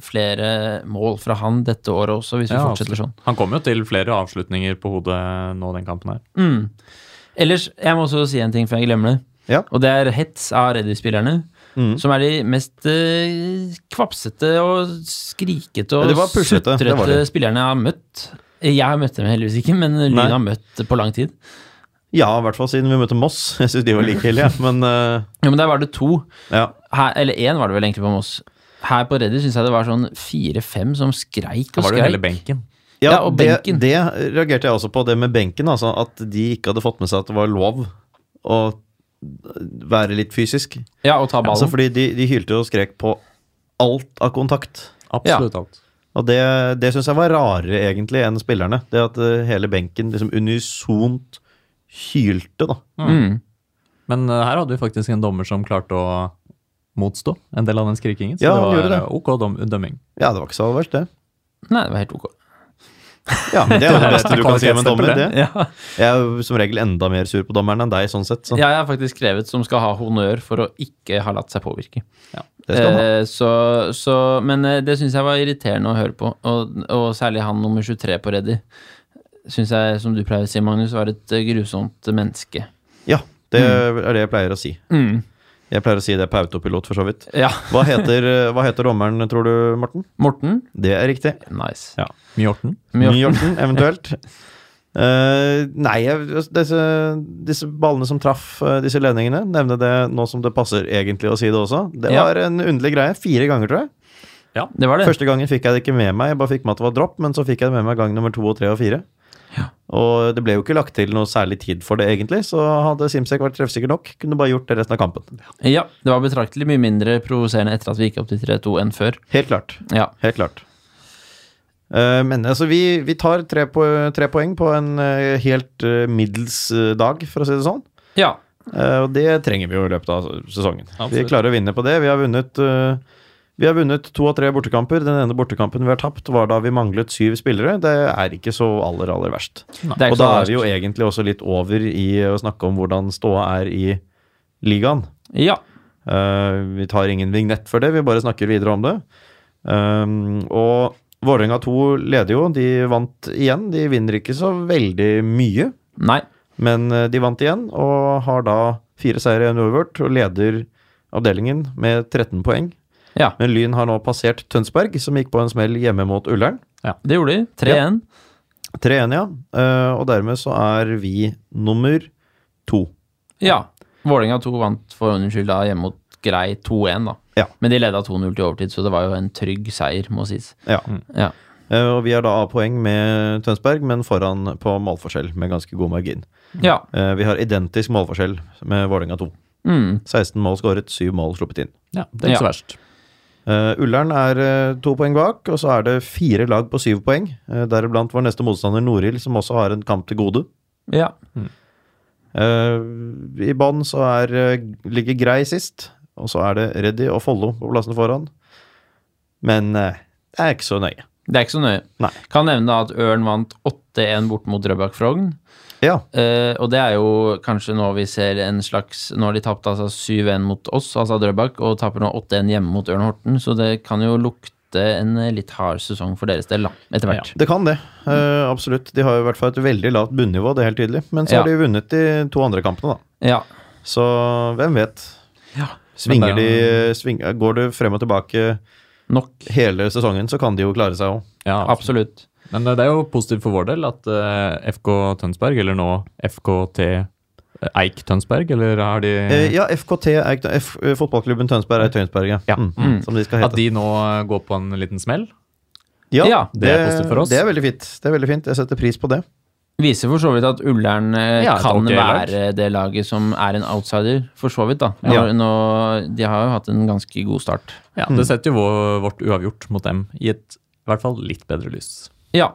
Speaker 1: flere mål fra han dette året også, hvis vi
Speaker 3: ja,
Speaker 1: fortsetter sånn.
Speaker 3: absolutt. Han kommer jo til flere avslutninger på hodet nå den kampen her.
Speaker 1: Mm. Ellers, jeg må også si en ting før jeg glemmer det.
Speaker 2: Ja.
Speaker 1: Og det er hets av Reddy-spillerne.
Speaker 2: Mm.
Speaker 1: Som er de mest eh, kvapsete og skrikete
Speaker 2: Ja,
Speaker 1: og
Speaker 2: de var puslete, det var
Speaker 1: sutrete
Speaker 2: de.
Speaker 1: spillerne jeg har møtt. Jeg har møtt dem heldigvis ikke, men Lyn
Speaker 2: Nei.
Speaker 1: har møtt på lang tid.
Speaker 2: ja, i hvert fall siden vi møtte Moss. Jeg syns de var like ille, jeg. Men eh,
Speaker 1: Ja, men der var det to.
Speaker 2: ja.
Speaker 1: Her, eller én var det vel egentlig på Moss. Her på Reddy syns jeg det var sånn fire-fem som skreik
Speaker 3: Da
Speaker 1: og
Speaker 3: var det jo hele
Speaker 1: skreik.
Speaker 3: benken.
Speaker 2: Ja,
Speaker 1: Ja, og
Speaker 2: det,
Speaker 1: benken.
Speaker 2: det reagerte jeg også på, det med benken. Altså, at de ikke hadde fått med seg at det var lov å være litt fysisk.
Speaker 1: Ja, og ta ballen.
Speaker 2: Altså, fordi de, de hylte og skrek på alt av kontakt.
Speaker 3: Absolutt alt.
Speaker 2: Og det, det syns jeg var rarere, egentlig, enn spillerne. Det at eh, hele benken liksom unisont hylte, da.
Speaker 1: mm.
Speaker 3: Men eh, her hadde vi faktisk en dommer som klarte å motstå en del av den skrikingen. Så
Speaker 2: Ja, han
Speaker 3: det
Speaker 2: gjorde
Speaker 3: var
Speaker 2: det.
Speaker 3: eh, ok dom dømming.
Speaker 2: Ja, det var ikke så verst, det.
Speaker 1: Nei, det var helt ok.
Speaker 2: Ja, Det er jo det beste du kan si om en dommer.
Speaker 3: Kvalitetsstempel,
Speaker 2: Det.
Speaker 1: Ja.
Speaker 2: Jeg er jo som regel enda mer sur på dommeren enn deg, sånn sett. Så.
Speaker 1: Jeg har faktisk skrevet som skal ha honnør for å ikke ha latt seg påvirke.
Speaker 2: Det skal han ha.
Speaker 1: Eh, så, så, men eh, det syns jeg var irriterende å høre på, og, og særlig han nummer 23 på Reddy. Syns jeg, som du pleier å si, Magnus, var et eh, grusomt menneske.
Speaker 2: Ja, det er det jeg pleier å si.
Speaker 1: Mm.
Speaker 2: Jeg pleier å si det på autopilot, for så vidt.
Speaker 1: Ja.
Speaker 2: Hva heter, eh, hva heter dommeren, tror du, Morten?
Speaker 1: Morten?
Speaker 2: Det er riktig.
Speaker 1: Nice.
Speaker 3: Ja. Mjorten.
Speaker 1: Mjorten.
Speaker 2: Mjorten, eventuelt. Eh, nei, jeg- disse, disse ballene som traff eh, disse ledningene, nevne det nå som det passer egentlig å si det også. Det
Speaker 1: Ja.
Speaker 2: var en underlig greie. Fire ganger, tror jeg.
Speaker 1: Det var det.
Speaker 2: Første gangen fikk jeg det ikke med meg, jeg bare fikk med at det var dropp, men så fikk jeg det med meg gang nummer to og tre og fire. Og det ble jo ikke lagt til noe særlig tid for det, egentlig, så hadde Simsek vært treffsikker nok, kunne bare gjort det resten av kampen.
Speaker 1: Ja, det var betraktelig mye mindre provoserende etter at vi gikk opp til 3-2 enn før.
Speaker 2: Helt klart.
Speaker 1: Ja.
Speaker 2: Helt klart. Eh, Men altså, vi, vi tar tre, po tre poeng på en eh, helt eh, middels eh, dag, for å si det sånn.
Speaker 1: ja.
Speaker 2: Eh, Og det trenger vi jo i løpet av sesongen. Vi
Speaker 3: Absolutt.
Speaker 2: klarer å vinne på det. Vi har vunnet eh, vi har vunnet to av tre bortekamper. Den ene bortekampen vi har tapt, var da vi manglet syv spillere. Det er ikke så aller, aller verst.
Speaker 1: Det
Speaker 2: Og
Speaker 1: ikke
Speaker 2: da
Speaker 1: så
Speaker 2: er vi jo egentlig også litt over i å snakke om hvordan ståa er i ligaen.
Speaker 1: verst. Ja.
Speaker 2: Eh, vi tar ingen vignett for det, vi bare snakker videre om det. Um, og Vålerenga 2 leder jo, de vant igjen. De vinner ikke så veldig mye,
Speaker 1: Nei.
Speaker 2: men eh, de vant igjen og har da fire seire i en uavgjort og leder avdelingen med 13 poeng.
Speaker 1: Ja.
Speaker 2: Men Lyn har nå passert Tønsberg, som gikk på en smell hjemme mot Ullern.
Speaker 1: Det gjorde de. 3-1.
Speaker 2: 3-1, ja. Eh, og dermed så er vi nummer to.
Speaker 1: Ja. Vålerenga 2 vant for ordens skyld da hjemme mot Grei 2-1, da.
Speaker 2: Ja.
Speaker 1: Men de leda 2-0 til overtid, så det var jo en trygg seier, må sies.
Speaker 2: Ja.
Speaker 1: Ja.
Speaker 2: Eh, og vi er da av poeng med Tønsberg, men foran på målforskjell med ganske god margin.
Speaker 1: ja.
Speaker 2: Eh, Vi har identisk målforskjell med Vålerenga 2.
Speaker 1: Mm.
Speaker 2: 16 mål skåret, 7 mål sluppet inn.
Speaker 3: Ja, det er
Speaker 1: Ja.
Speaker 3: ikke så verst.
Speaker 2: Eh, Ullern er eh, to poeng bak, og så er det fire lag på syv poeng. Eh, deriblant vår neste motstander Norild, som også har en kamp til gode.
Speaker 1: Ja.
Speaker 2: Eh, I bånn så er, eh, ligger Grei sist, og så er det Reddy og Follo på plassene foran. Men eh, det er ikke så nøye.
Speaker 1: Det er ikke så nøye.
Speaker 2: Nei.
Speaker 1: Kan nevne da at Ørn vant 8-1 bort mot Drøbak Frogn.
Speaker 2: Ja,
Speaker 1: Eh, og det er jo kanskje nå vi ser en slags Nå har de tapt altså 7-1 mot oss, altså Drøbak, og taper nå 8-1 hjemme mot Ørn Horten, så det kan jo lukte en eh, litt hard sesong for deres del, da, etter hvert.
Speaker 2: det kan det. Eh, absolutt. De har jo i hvert fall et veldig lavt bunnivå, det er helt tydelig. Men så
Speaker 1: Ja.
Speaker 2: har de vunnet de to andre kampene, da.
Speaker 1: Ja.
Speaker 2: Så hvem vet?
Speaker 1: Ja.
Speaker 2: Svinger
Speaker 3: Men
Speaker 2: de, eh,
Speaker 3: det-
Speaker 2: sving, Går det frem og tilbake
Speaker 1: Nok.
Speaker 2: hele sesongen, så kan de jo klare seg òg.
Speaker 3: Ja,
Speaker 1: Absolutt.
Speaker 3: Men eh, det er jo positivt for vår del at eh, FK Tønsberg, eller nå FKT eh, Eik Tønsberg, eller har de
Speaker 2: Eh, ja, FKT er ikke- F, eh, Fotballklubben Tønsberg er i Tønsberg, ja.
Speaker 3: Ja.
Speaker 2: Mm, som de skal hete.
Speaker 3: At de nå eh, går på en liten smell?
Speaker 1: Ja,
Speaker 3: det er positivt for oss.
Speaker 2: Det er veldig fint. Det er veldig fint. Jeg setter pris på det.
Speaker 1: Viser for så vidt at Ullern eh,
Speaker 3: Ja, et
Speaker 1: kan
Speaker 3: ok lag.
Speaker 1: være det laget som er en outsider, for så vidt, da. Nå,
Speaker 3: Ja.
Speaker 1: nå, de har jo hatt en ganske god start.
Speaker 3: Ja, Det setter jo vår, vårt uavgjort mot dem i et i hvert fall litt bedre lys.
Speaker 1: Ja.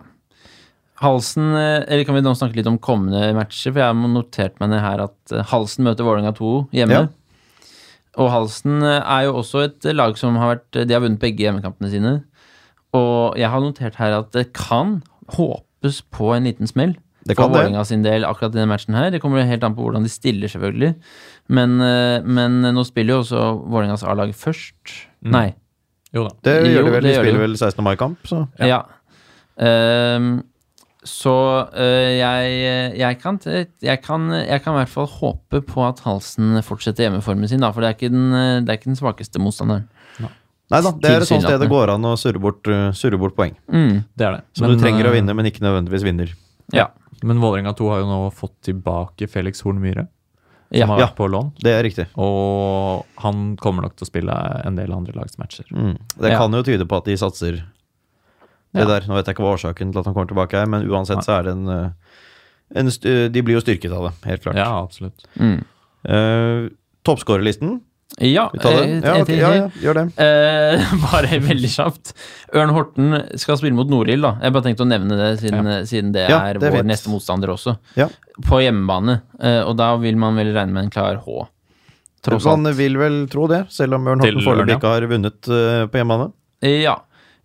Speaker 1: Halsen, eh, eller kan vi nå snakke litt om kommende matcher? For jeg har notert meg ned her at eh, Halsen møter Vålerenga 2 hjemme.
Speaker 2: Ja.
Speaker 1: Og Halsen eh, er jo også et eh, lag som har vært De har vunnet begge hjemmekampene sine. Og jeg har notert her at det kan håpes på en liten smell.
Speaker 2: Det
Speaker 1: for
Speaker 2: kan det.
Speaker 1: Vålerenga sin del akkurat i denne matchen her. Det kommer jo helt an på hvordan de stiller, selvfølgelig. Men, eh, men nå spiller jo også Vålerengas A-lag først.
Speaker 2: Mm.
Speaker 1: Nei.
Speaker 3: Jo da.
Speaker 2: Det
Speaker 1: Jo,
Speaker 2: gjør de vel.
Speaker 1: det
Speaker 2: De
Speaker 1: gjør
Speaker 2: spiller
Speaker 1: de.
Speaker 2: vel 16. mai-kamp, så
Speaker 1: Ja. Ehm, så eh, jeg, jeg, kan, jeg, kan, jeg kan i hvert fall håpe på at Halsen fortsetter hjemmeformen sin, da, for det er ikke den, eh, det er ikke den svakeste motstanderen.
Speaker 2: Nei da, det er et sånt sted det
Speaker 1: Tilsynelatende.
Speaker 2: går an å surre bort, eh, surre bort poeng.
Speaker 1: Mm,
Speaker 3: Det er det. eh,
Speaker 2: Som du trenger å vinne, men ikke nødvendigvis vinner.
Speaker 1: ja.
Speaker 3: Men Vålerenga 2 har jo nå fått tilbake Felix Horn Myhre, som
Speaker 1: Ja.
Speaker 3: har vært
Speaker 2: Ja.
Speaker 3: på lån.
Speaker 2: Det er riktig.
Speaker 3: Og han kommer nok til å spille en del andre lags matcher.
Speaker 2: Mm. Det
Speaker 1: Ja.
Speaker 2: kan jo tyde på at de satser det
Speaker 3: Ja.
Speaker 2: der. Nå vet jeg ikke hva årsaken til at han kommer tilbake er, men uansett så er det en, eh, en st- De blir jo styrket av det, helt klart.
Speaker 3: Ja, absolutt.
Speaker 1: Mm.
Speaker 2: Eh, Toppskårerlisten,
Speaker 1: ja.
Speaker 2: vi tar den?
Speaker 1: eh,
Speaker 2: Ja,
Speaker 1: en
Speaker 2: ok,
Speaker 1: til,
Speaker 2: ja,
Speaker 1: til.
Speaker 2: ja, gjør det.
Speaker 1: Eh, bare veldig kjapt. Ørn Horten skal spille mot Norild, da. Jeg bare tenkte å nevne det, siden, siden det
Speaker 2: Ja,
Speaker 1: er
Speaker 2: det er
Speaker 1: vår
Speaker 2: fint.
Speaker 1: neste motstander også.
Speaker 2: Ja.
Speaker 1: På hjemmebane. Eh, og da vil man vel regne med en klar H. Tross alt.
Speaker 2: Man vil vel tro det, selv om Ørn
Speaker 3: Til
Speaker 2: Horten
Speaker 3: Ørn, ja.
Speaker 2: foreløpig ikke har vunnet eh, på hjemmebane.
Speaker 1: Ja.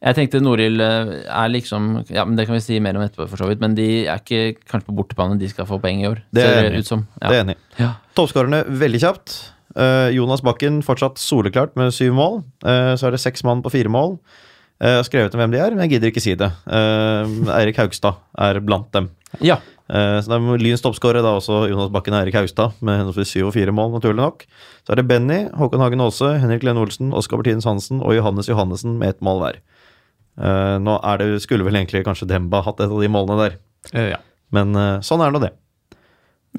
Speaker 1: Jeg tenkte Norild eh, er liksom Ja, men det kan vi si mer om etterpå, for så vidt. Men de er ikke kanskje på bortebane. De skal få poeng i år,
Speaker 2: Det er
Speaker 1: ser
Speaker 2: enig.
Speaker 1: det ut som. Ja.
Speaker 2: Det er jeg enig. i.
Speaker 1: Ja.
Speaker 2: Toppskårerne veldig kjapt. Eh, Jonas Bakken fortsatt soleklart med syv mål. Eh, så er det seks mann på fire mål. Eh, Jeg har skrevet om hvem de er, men jeg gidder ikke si det. Eh, Eirik Haugstad er blant dem.
Speaker 1: ja.
Speaker 2: Eh, så det er Lyns toppskårer da også Jonas Bakken og Eirik Haugstad med henholdsvis syv og fire mål, naturlig nok. Så er det Benny, Håkon Hagen Aase, Henrik Lene Olsen, Oskar Bertines Hansen og Johannes Johannessen med ett mål hver. Eh, nå er det, skulle vel egentlig kanskje Demba hatt et av de målene der.
Speaker 3: Eh, ja.
Speaker 2: Men eh, sånn er nå det.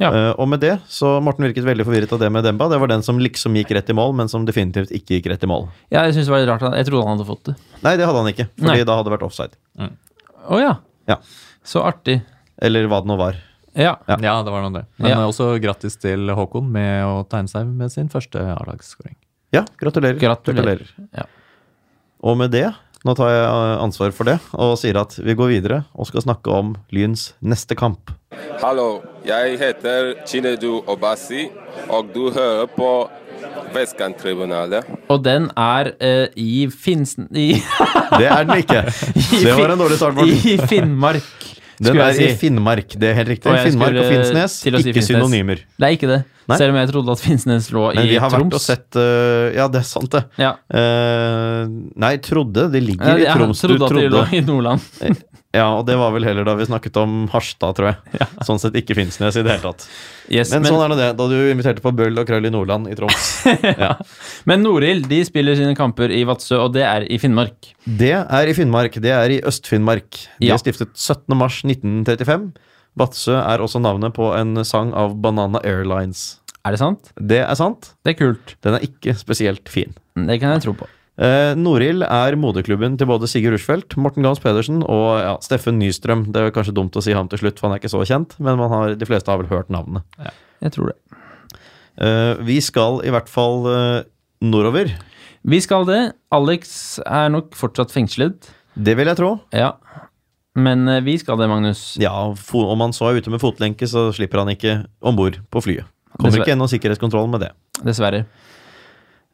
Speaker 1: Ja.
Speaker 2: Eh, og med det, så Morten virket veldig forvirret av det med Demba. Det var den som liksom gikk rett i mål, men som definitivt ikke gikk rett i mål.
Speaker 1: Ja, jeg synes det var litt rart. at- Jeg trodde han hadde fått det.
Speaker 2: Nei, det hadde han ikke, fordi
Speaker 1: Nei.
Speaker 2: da hadde det vært offside.
Speaker 1: Å ja.
Speaker 2: Ja.
Speaker 1: Så artig.
Speaker 2: Eller hva det nå var.
Speaker 1: Ja.
Speaker 2: Ja.
Speaker 3: ja. det var nå det. Men
Speaker 1: Ja.
Speaker 3: eh, også grattis til Håkon med å tegne seg med sin første A-lagsskåring.
Speaker 2: Ja, gratulerer.
Speaker 1: Gratulerer. Ja.
Speaker 2: Og med det, nå tar jeg eh, ansvar for det og sier at vi går videre og skal snakke om Lyns neste kamp.
Speaker 7: Hallo, jeg heter Chinedu Obasi, og du hører på Vestkanttribunalet.
Speaker 1: Og den er eh, i Finsen... I,
Speaker 2: Det er den ikke! Det var en dårlig start, Morten.
Speaker 1: I Finnmark,
Speaker 2: Den
Speaker 1: skulle
Speaker 2: er i
Speaker 1: jeg si.
Speaker 2: Finnmark, det er helt riktig.
Speaker 1: Og jeg
Speaker 2: Finnmark og
Speaker 1: skulle
Speaker 2: Finnsnes,
Speaker 1: til å si
Speaker 2: ikke
Speaker 1: Finnsnes.
Speaker 2: synonymer.
Speaker 1: Det er ikke det.
Speaker 2: Nei.
Speaker 1: Selv om jeg trodde at Finnsnes lå i
Speaker 2: Men vi har vært og
Speaker 1: Troms.
Speaker 2: sett eh, Ja, det er sant, det.
Speaker 1: Ja.
Speaker 2: Eh, nei, trodde. Det ligger
Speaker 1: Jeg,
Speaker 2: i Troms. Du
Speaker 1: trodde at de lå
Speaker 2: trodde.
Speaker 1: i Nordland.
Speaker 2: Ja, og det var vel heller da vi snakket om Harstad, tror jeg. Sånn sett ikke Finnsnes i det hele tatt.
Speaker 1: Yes,
Speaker 2: Men, sånn er nå det, da du inviterte på Bøll og Krøll i Nordland i Troms.
Speaker 1: Men Norild de spiller sine kamper i Vadsø, og det er i Finnmark.
Speaker 2: Det er i Finnmark. Det er i Øst-Finnmark. De
Speaker 1: Ja.
Speaker 2: er stiftet 17. mars 1935. Vadsø er også navnet på en sang av Banana Airlines.
Speaker 1: Er det sant?
Speaker 2: Det er sant.
Speaker 1: Det er kult.
Speaker 2: Den er ikke spesielt fin.
Speaker 1: Det kan jeg tro på.
Speaker 2: Eh, Norild er moderklubben til både Sigurd Rushfeldt, Morten Gams Pedersen og ja, Steffen Nystrøm. Det er jo kanskje dumt å si ham til slutt, for han er ikke så kjent, men man har, de fleste har vel hørt navnet.
Speaker 1: Jeg tror det.
Speaker 2: Eh, vi skal i hvert fall eh, nordover.
Speaker 1: Vi skal det. Alex er nok fortsatt fengslet.
Speaker 2: Det vil jeg tro.
Speaker 1: Ja. Men eh, vi skal det, Magnus.
Speaker 2: Ja, fo- Om han så er ute med fotlenke, så slipper han ikke om bord på flyet. Kommer
Speaker 1: Dessverre.
Speaker 2: ikke gjennom sikkerhetskontrollen med det.
Speaker 1: Dessverre.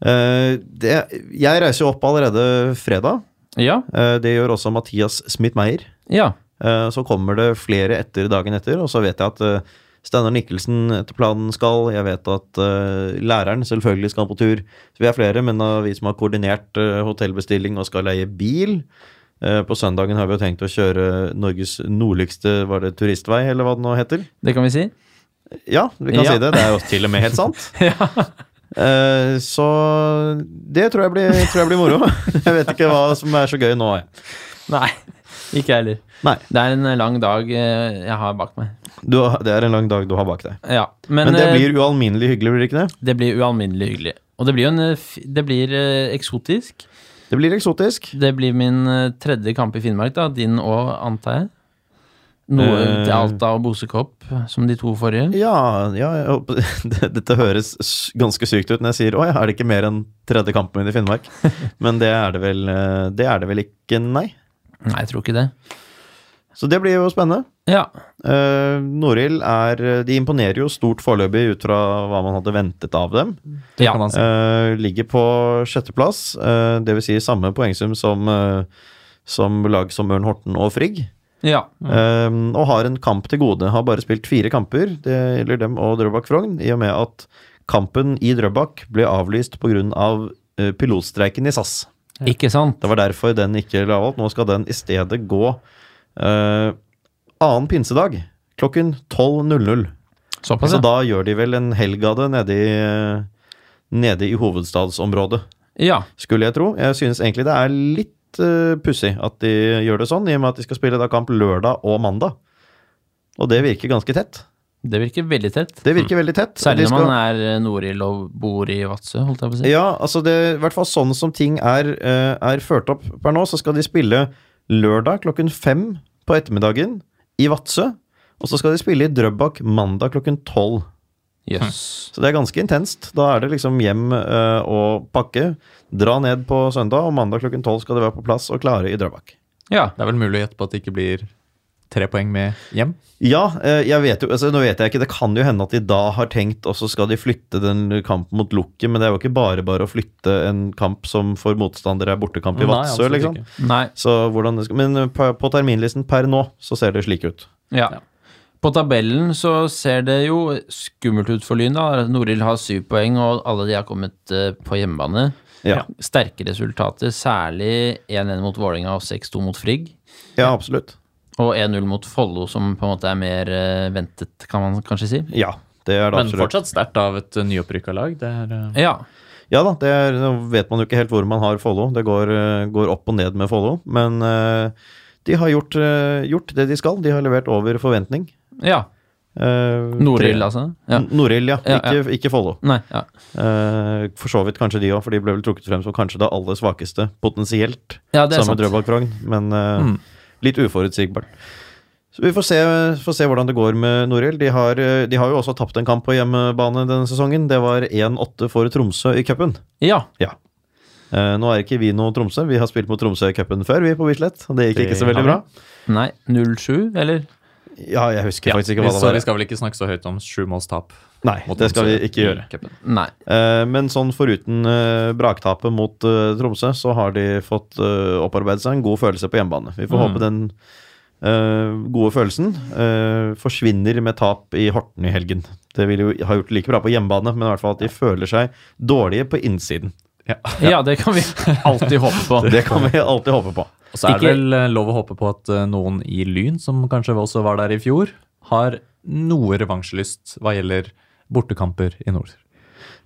Speaker 2: Eh, det. Jeg reiser jo opp allerede fredag.
Speaker 1: Ja.
Speaker 2: Eh, Det gjør også Mathias Smith-Meyer.
Speaker 1: Ja.
Speaker 2: Eh, Så kommer det flere etter dagen etter, og så vet jeg at eh, Steinar Nikkelsen etter planen skal, jeg vet at eh, læreren selvfølgelig skal på tur. Så vi er flere, men av vi som har koordinert eh, hotellbestilling og skal leie bil. eh, På søndagen har vi jo tenkt å kjøre Norges nordligste var det turistvei, eller hva det nå heter.
Speaker 1: Det kan vi si.
Speaker 2: Ja, vi kan
Speaker 1: Ja.
Speaker 2: si det. Det er jo til og med helt sant. Eh, Så det tror jeg, blir, tror jeg blir moro. Jeg vet ikke hva som er så gøy nå. jeg.
Speaker 1: Nei. Ikke jeg heller.
Speaker 2: Nei,
Speaker 1: Det er en eh, lang dag eh, jeg har bak meg.
Speaker 2: du, har- det er en lang dag du har bak deg.
Speaker 1: Ja. Men,
Speaker 2: Men det
Speaker 1: eh,
Speaker 2: blir ualminnelig hyggelig, blir det ikke det?
Speaker 1: det blir ualminnelig hyggelig. Og det blir jo en eh, f- Det blir eh, eksotisk.
Speaker 2: Det blir eksotisk.
Speaker 1: Det blir min eh, tredje kamp i Finnmark, da. Din òg, antar jeg. Noe
Speaker 2: Eh.
Speaker 1: til Alta og Bosekopp, som de to forrige.
Speaker 2: Ja, ja jeg håper, det- dette høres s- ganske sykt ut når jeg sier å ja, er det ikke mer enn tredje kampen min i Finnmark? Men det er det vel, eh, det er det vel ikke, nei.
Speaker 1: Nei, jeg tror ikke det.
Speaker 2: Så det blir jo spennende.
Speaker 1: Ja.
Speaker 2: Uh, Noril er De imponerer jo stort foreløpig ut fra hva man hadde ventet av dem.
Speaker 3: Det
Speaker 1: Ja.
Speaker 3: kan han si.
Speaker 2: Eh, ligger på sjetteplass, eh, det vil Si samme poengsum som, eh, som lag som Ørn Horten og Frigg.
Speaker 1: ja.
Speaker 2: Um, og har en kamp til gode. Har bare spilt fire kamper, det gjelder dem og Drøbak Frogn, i og med at kampen i Drøbak ble avlyst pga. Av eh, pilotstreiken i SAS.
Speaker 1: Ikke sant?
Speaker 2: Det var derfor den ikke ble avholdt. Nå skal den i stedet gå eh, annen pinsedag klokken 12.00.
Speaker 1: Såpass,
Speaker 2: Så
Speaker 1: ja.
Speaker 2: da gjør de vel en helg av det nede i, eh, nede i hovedstadsområdet
Speaker 1: ja.
Speaker 2: skulle jeg tro. Jeg synes egentlig det er litt uh, pussig at de gjør det sånn, i og med at de skal spille da kamp lørdag og mandag. Og det virker ganske tett.
Speaker 1: Det virker veldig tett.
Speaker 2: Det virker veldig tett.
Speaker 1: Mm. Særlig
Speaker 2: De
Speaker 1: når
Speaker 2: skal-
Speaker 1: man er eh, Norild og bor i Vadsø, holdt jeg på å si.
Speaker 2: Ja, altså det, i hvert fall sånn som ting er, eh, er ført opp per nå, så skal de spille lørdag klokken fem på ettermiddagen i Vadsø. Og så skal de spille i Drøbak mandag klokken tolv.
Speaker 1: Jøss.
Speaker 2: Så det er ganske intenst. Da er det liksom hjem eh, og pakke. Dra ned på søndag, og mandag klokken tolv skal de være på plass og klare i Drøbak.
Speaker 1: Ja.
Speaker 3: Det er vel mulig å gjette på at det ikke blir tre poeng med hjem.
Speaker 2: Ja, eh, jeg vet jo, altså, nå vet jeg ikke, det kan jo hende at de da har tenkt, og så skal de flytte den kampen mot Lukke, men det er jo ikke bare bare å flytte en kamp som for motstandere er bortekamp i
Speaker 3: Nei,
Speaker 2: Vadsø,
Speaker 3: absolutt
Speaker 2: liksom.
Speaker 3: ikke.
Speaker 1: Nei.
Speaker 2: Så hvordan det skal, men eh, på, på terminlisten per nå så ser det slik ut.
Speaker 1: Ja. På tabellen så ser det jo skummelt ut for Lyn. da. Norild har syv poeng, og alle de har kommet eh, på hjemmebane.
Speaker 2: Ja,
Speaker 1: Sterke resultater, særlig 1-1 mot Vålerenga og 6-2 mot Frigg.
Speaker 2: ja absolutt.
Speaker 1: Og 1-0 mot Follo, som på en måte er mer eh, ventet, kan man kanskje si.
Speaker 2: Ja, det er det
Speaker 3: Men
Speaker 2: absolutt.
Speaker 3: fortsatt sterkt av et eh, nyopprykka lag. Det er eh,
Speaker 1: Ja.
Speaker 2: Ja da, det er, nå vet man jo ikke helt hvor man har Follo. Det går, eh, går opp og ned med Follo. Men eh, de har gjort, eh, gjort det de skal. De har levert over forventning.
Speaker 1: ja.
Speaker 2: Uh,
Speaker 1: Norild, altså. Ja.
Speaker 2: Norild, ja.
Speaker 1: Ja, ja.
Speaker 2: Ikke, ikke Follo.
Speaker 1: Nei, ja.
Speaker 2: Eh, for så vidt kanskje de òg, for de ble vel trukket frem som kanskje det aller svakeste, potensielt,
Speaker 1: Ja, det er
Speaker 2: sammen med
Speaker 1: sant.
Speaker 2: Drøbak Frogn. Men eh,
Speaker 3: Mm.
Speaker 2: litt uforutsigbart. Så vi får se, får se hvordan det går med Norild. De, har, eh, de har jo også tapt en kamp på hjemmebane denne sesongen. Det var 1-8 for Tromsø i cupen.
Speaker 1: Ja.
Speaker 2: Ja. Eh, nå er ikke vi noe Tromsø. Vi har spilt mot Tromsø i cupen før, vi, på Bislett. Og det gikk
Speaker 3: Det
Speaker 2: ikke så veldig
Speaker 3: har
Speaker 2: bra.
Speaker 1: Nei. 0-7, eller?
Speaker 2: Ja, jeg husker faktisk ikke
Speaker 3: vi,
Speaker 2: hva
Speaker 3: så vi
Speaker 2: det var.
Speaker 3: skal vel ikke snakke så høyt om sjumålstap.
Speaker 2: Nei,
Speaker 3: mot
Speaker 2: det skal vi
Speaker 3: Tromsø
Speaker 2: ikke
Speaker 3: i
Speaker 2: gjøre.
Speaker 3: cupen.
Speaker 1: Nei.
Speaker 2: Eh, Men sånn foruten eh, braktapet mot eh, Tromsø, så har de fått eh, opparbeidet seg en god følelse på hjemmebane. Vi får
Speaker 1: Mm.
Speaker 2: håpe den eh, gode følelsen eh, forsvinner med tap i Horten i helgen. Det ville jo ha gjort det like bra på hjemmebane, men i hvert fall at de føler seg dårlige på innsiden.
Speaker 1: Ja, det kan vi alltid håpe på.
Speaker 2: Det kan vi alltid håpe på.
Speaker 3: Og så er
Speaker 1: Ikke-
Speaker 3: det vel eh, lov å håpe på at eh, noen i Lyn, som kanskje også var der i fjor, har noe revansjelyst hva gjelder bortekamper i nord.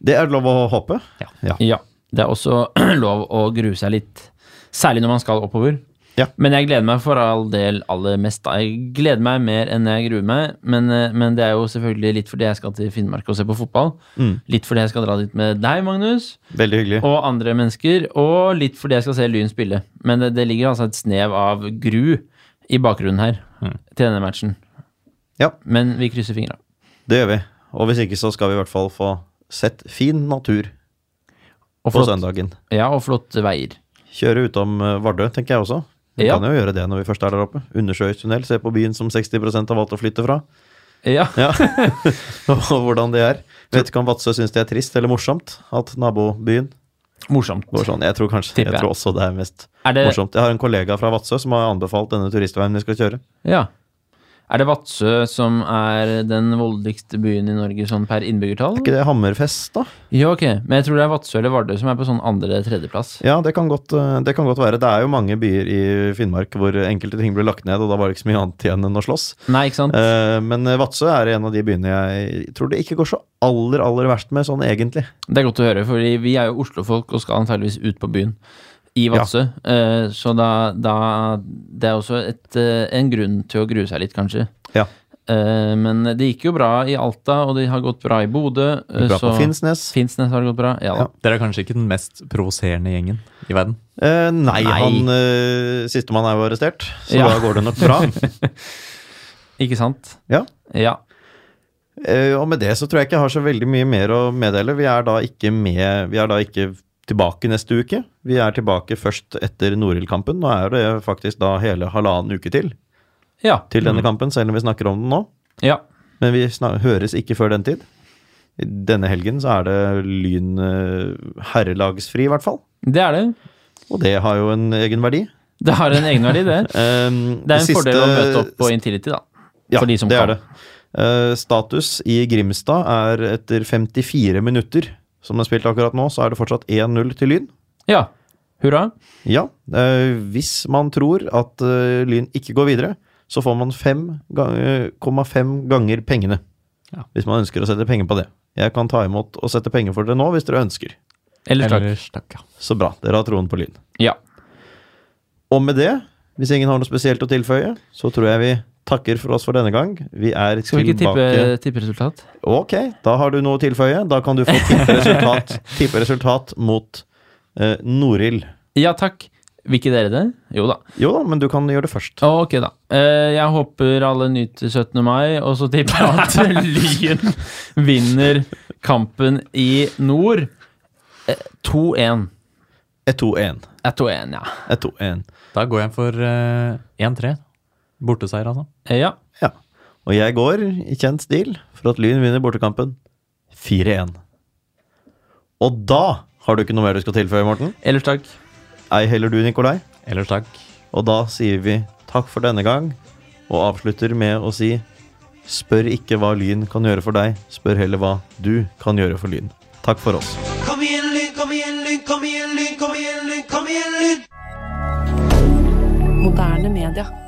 Speaker 2: Det er lov å håpe.
Speaker 3: Ja.
Speaker 1: Ja. Det er også lov å grue seg litt. Særlig når man skal oppover.
Speaker 2: Ja.
Speaker 1: Men jeg gleder meg for all del aller mest. da. Jeg gleder meg mer enn jeg gruer meg, men, eh, men det er jo selvfølgelig litt fordi jeg skal til Finnmark og se på fotball.
Speaker 2: Mm.
Speaker 1: Litt fordi jeg skal dra dit med deg, Magnus,
Speaker 2: Veldig hyggelig.
Speaker 1: og andre mennesker. Og litt fordi jeg skal se Lyn spille. Men det, det ligger altså et snev av gru i bakgrunnen her til denne matchen.
Speaker 2: Mm. Ja.
Speaker 1: Men vi krysser fingra.
Speaker 2: Det gjør vi. Og hvis ikke så skal vi i hvert fall få sett fin natur.
Speaker 1: Og
Speaker 2: på
Speaker 1: flott,
Speaker 2: søndagen.
Speaker 1: ja, og flotte veier.
Speaker 2: Kjøre utom eh, Vardø, tenker jeg også. Vi
Speaker 1: Ja.
Speaker 2: kan jo gjøre det når vi først er der oppe. Undersjøisk tunnel. Se på byen som 60 har valgt å flytte fra.
Speaker 1: Ja.
Speaker 2: Ja, Og hvordan det er. Vet ikke om Vadsø syns det er trist eller morsomt at nabobyen
Speaker 1: Morsomt.
Speaker 2: går sånn. Jeg tror kanskje
Speaker 1: Tipper
Speaker 2: jeg
Speaker 1: jeg. Eh.
Speaker 2: tror også det er mest
Speaker 1: Er det-
Speaker 2: morsomt. Jeg har en kollega fra Vadsø som har anbefalt denne turistveien vi skal kjøre.
Speaker 1: Ja. Er det Vadsø som er den voldeligste byen i Norge sånn per innbyggertall?
Speaker 2: Er ikke det Hammerfest, da?
Speaker 1: Ja, ok. Men jeg tror det er Vadsø eller Vardø som er på sånn andre-tredjeplass.
Speaker 2: Ja, det kan, godt, eh, det kan godt være. Det er jo mange byer i Finnmark hvor enkelte ting blir lagt ned, og da var det ikke så mye annet igjen enn å slåss.
Speaker 1: Nei, ikke sant?
Speaker 2: Eh, Men Vadsø er en av de byene jeg tror det ikke går så aller, aller verst med, sånn egentlig.
Speaker 1: Det er godt å høre, fordi vi er jo Oslo-folk og skal antageligvis ut på byen i Vadsø. Eh, Så da, da Det er også et, eh, en grunn til å grue seg litt, kanskje.
Speaker 2: Ja.
Speaker 1: Eh, Men det gikk jo bra i Alta, og det har gått bra i Bodø. eh,
Speaker 2: Bra på
Speaker 1: så-
Speaker 2: Finnsnes.
Speaker 1: Finnsnes har gått bra. Ja da.
Speaker 2: Ja.
Speaker 3: Dere er kanskje ikke den mest provoserende gjengen i verden.
Speaker 2: Eh, nei,
Speaker 1: Nei.
Speaker 2: han eh, sistemann er jo arrestert, så
Speaker 1: Ja.
Speaker 2: da går det nok bra.
Speaker 1: Ikke sant?
Speaker 2: Ja.
Speaker 1: Ja.
Speaker 2: Eh, og med det så tror jeg ikke jeg har så veldig mye mer å meddele. Vi er da ikke med Vi er da ikke tilbake neste uke. Vi er tilbake først etter Norild-kampen. Nå er det faktisk da hele halvannen uke til
Speaker 1: Ja.
Speaker 2: til denne
Speaker 1: Mm.
Speaker 2: kampen, selv om vi snakker om den nå.
Speaker 1: ja.
Speaker 2: Men vi sna- høres ikke før den tid. I Denne helgen så er det Lyn eh, herrelagsfri, i hvert fall.
Speaker 1: Det er det.
Speaker 2: Og det har jo en egen verdi.
Speaker 1: Det har en egenverdi, det.
Speaker 2: Um,
Speaker 1: Det er en fordel å møte opp på Intility, da.
Speaker 2: Ja,
Speaker 1: for de som
Speaker 2: det
Speaker 1: kan.
Speaker 2: er det. Eh, status i Grimstad er etter 54 minutter, som er spilt akkurat nå, så er det fortsatt 1-0 til Lyn.
Speaker 1: Ja. Hurra.
Speaker 2: Ja, eh, hvis man tror at eh, Lyn ikke går videre, så får man 5,5 ganger pengene.
Speaker 3: Ja.
Speaker 2: Hvis man ønsker å sette penger på det. Jeg kan ta imot og sette penger for dere nå, hvis dere ønsker.
Speaker 1: Ellers takk.
Speaker 3: takk. ja.
Speaker 2: Så bra, dere har troen på Lyn.
Speaker 1: Ja.
Speaker 2: Og med det, hvis ingen har noe spesielt å tilføye, så tror jeg vi takker for oss for denne gang. Vi er
Speaker 1: Skal vi ikke tippe,
Speaker 2: tilbake
Speaker 1: tippe resultat?
Speaker 2: Ok, da har du noe å tilføye. Da kan du få tippe resultat, tippe resultat mot eh, Norild.
Speaker 1: Ja takk. Vil ikke dere det? Jo da.
Speaker 2: Jo da, men du kan gjøre det først.
Speaker 1: Å, Ok, da. Eh, Jeg håper alle nyter 17. mai, og så tipper jeg at Lyn vinner kampen i nord. Eh, 2-1.
Speaker 2: 1-2-1.
Speaker 1: Eh, 2-1, ja.
Speaker 2: 1-2-1.
Speaker 3: Da går jeg for eh, 1-3. Borteseier, altså.
Speaker 1: Eh, Ja.
Speaker 2: Ja. Og jeg går, i kjent stil, for at Lyn vinner bortekampen 4-1. Og da har du ikke noe mer du skal tilføye, Morten.
Speaker 1: Ellers takk.
Speaker 2: Ei heller du, Nikolai.
Speaker 3: Ellers takk.
Speaker 2: Og da sier vi takk for denne gang, og avslutter med å si Spør ikke hva Lyn kan gjøre for deg, spør heller hva du kan gjøre for Lyn. Takk for oss.
Speaker 5: Kom igjen, Lyn, kom igjen, Lyn, kom igjen, Lyn, kom igjen, Lyn, kom igjen, Lyn!
Speaker 8: Moderne media.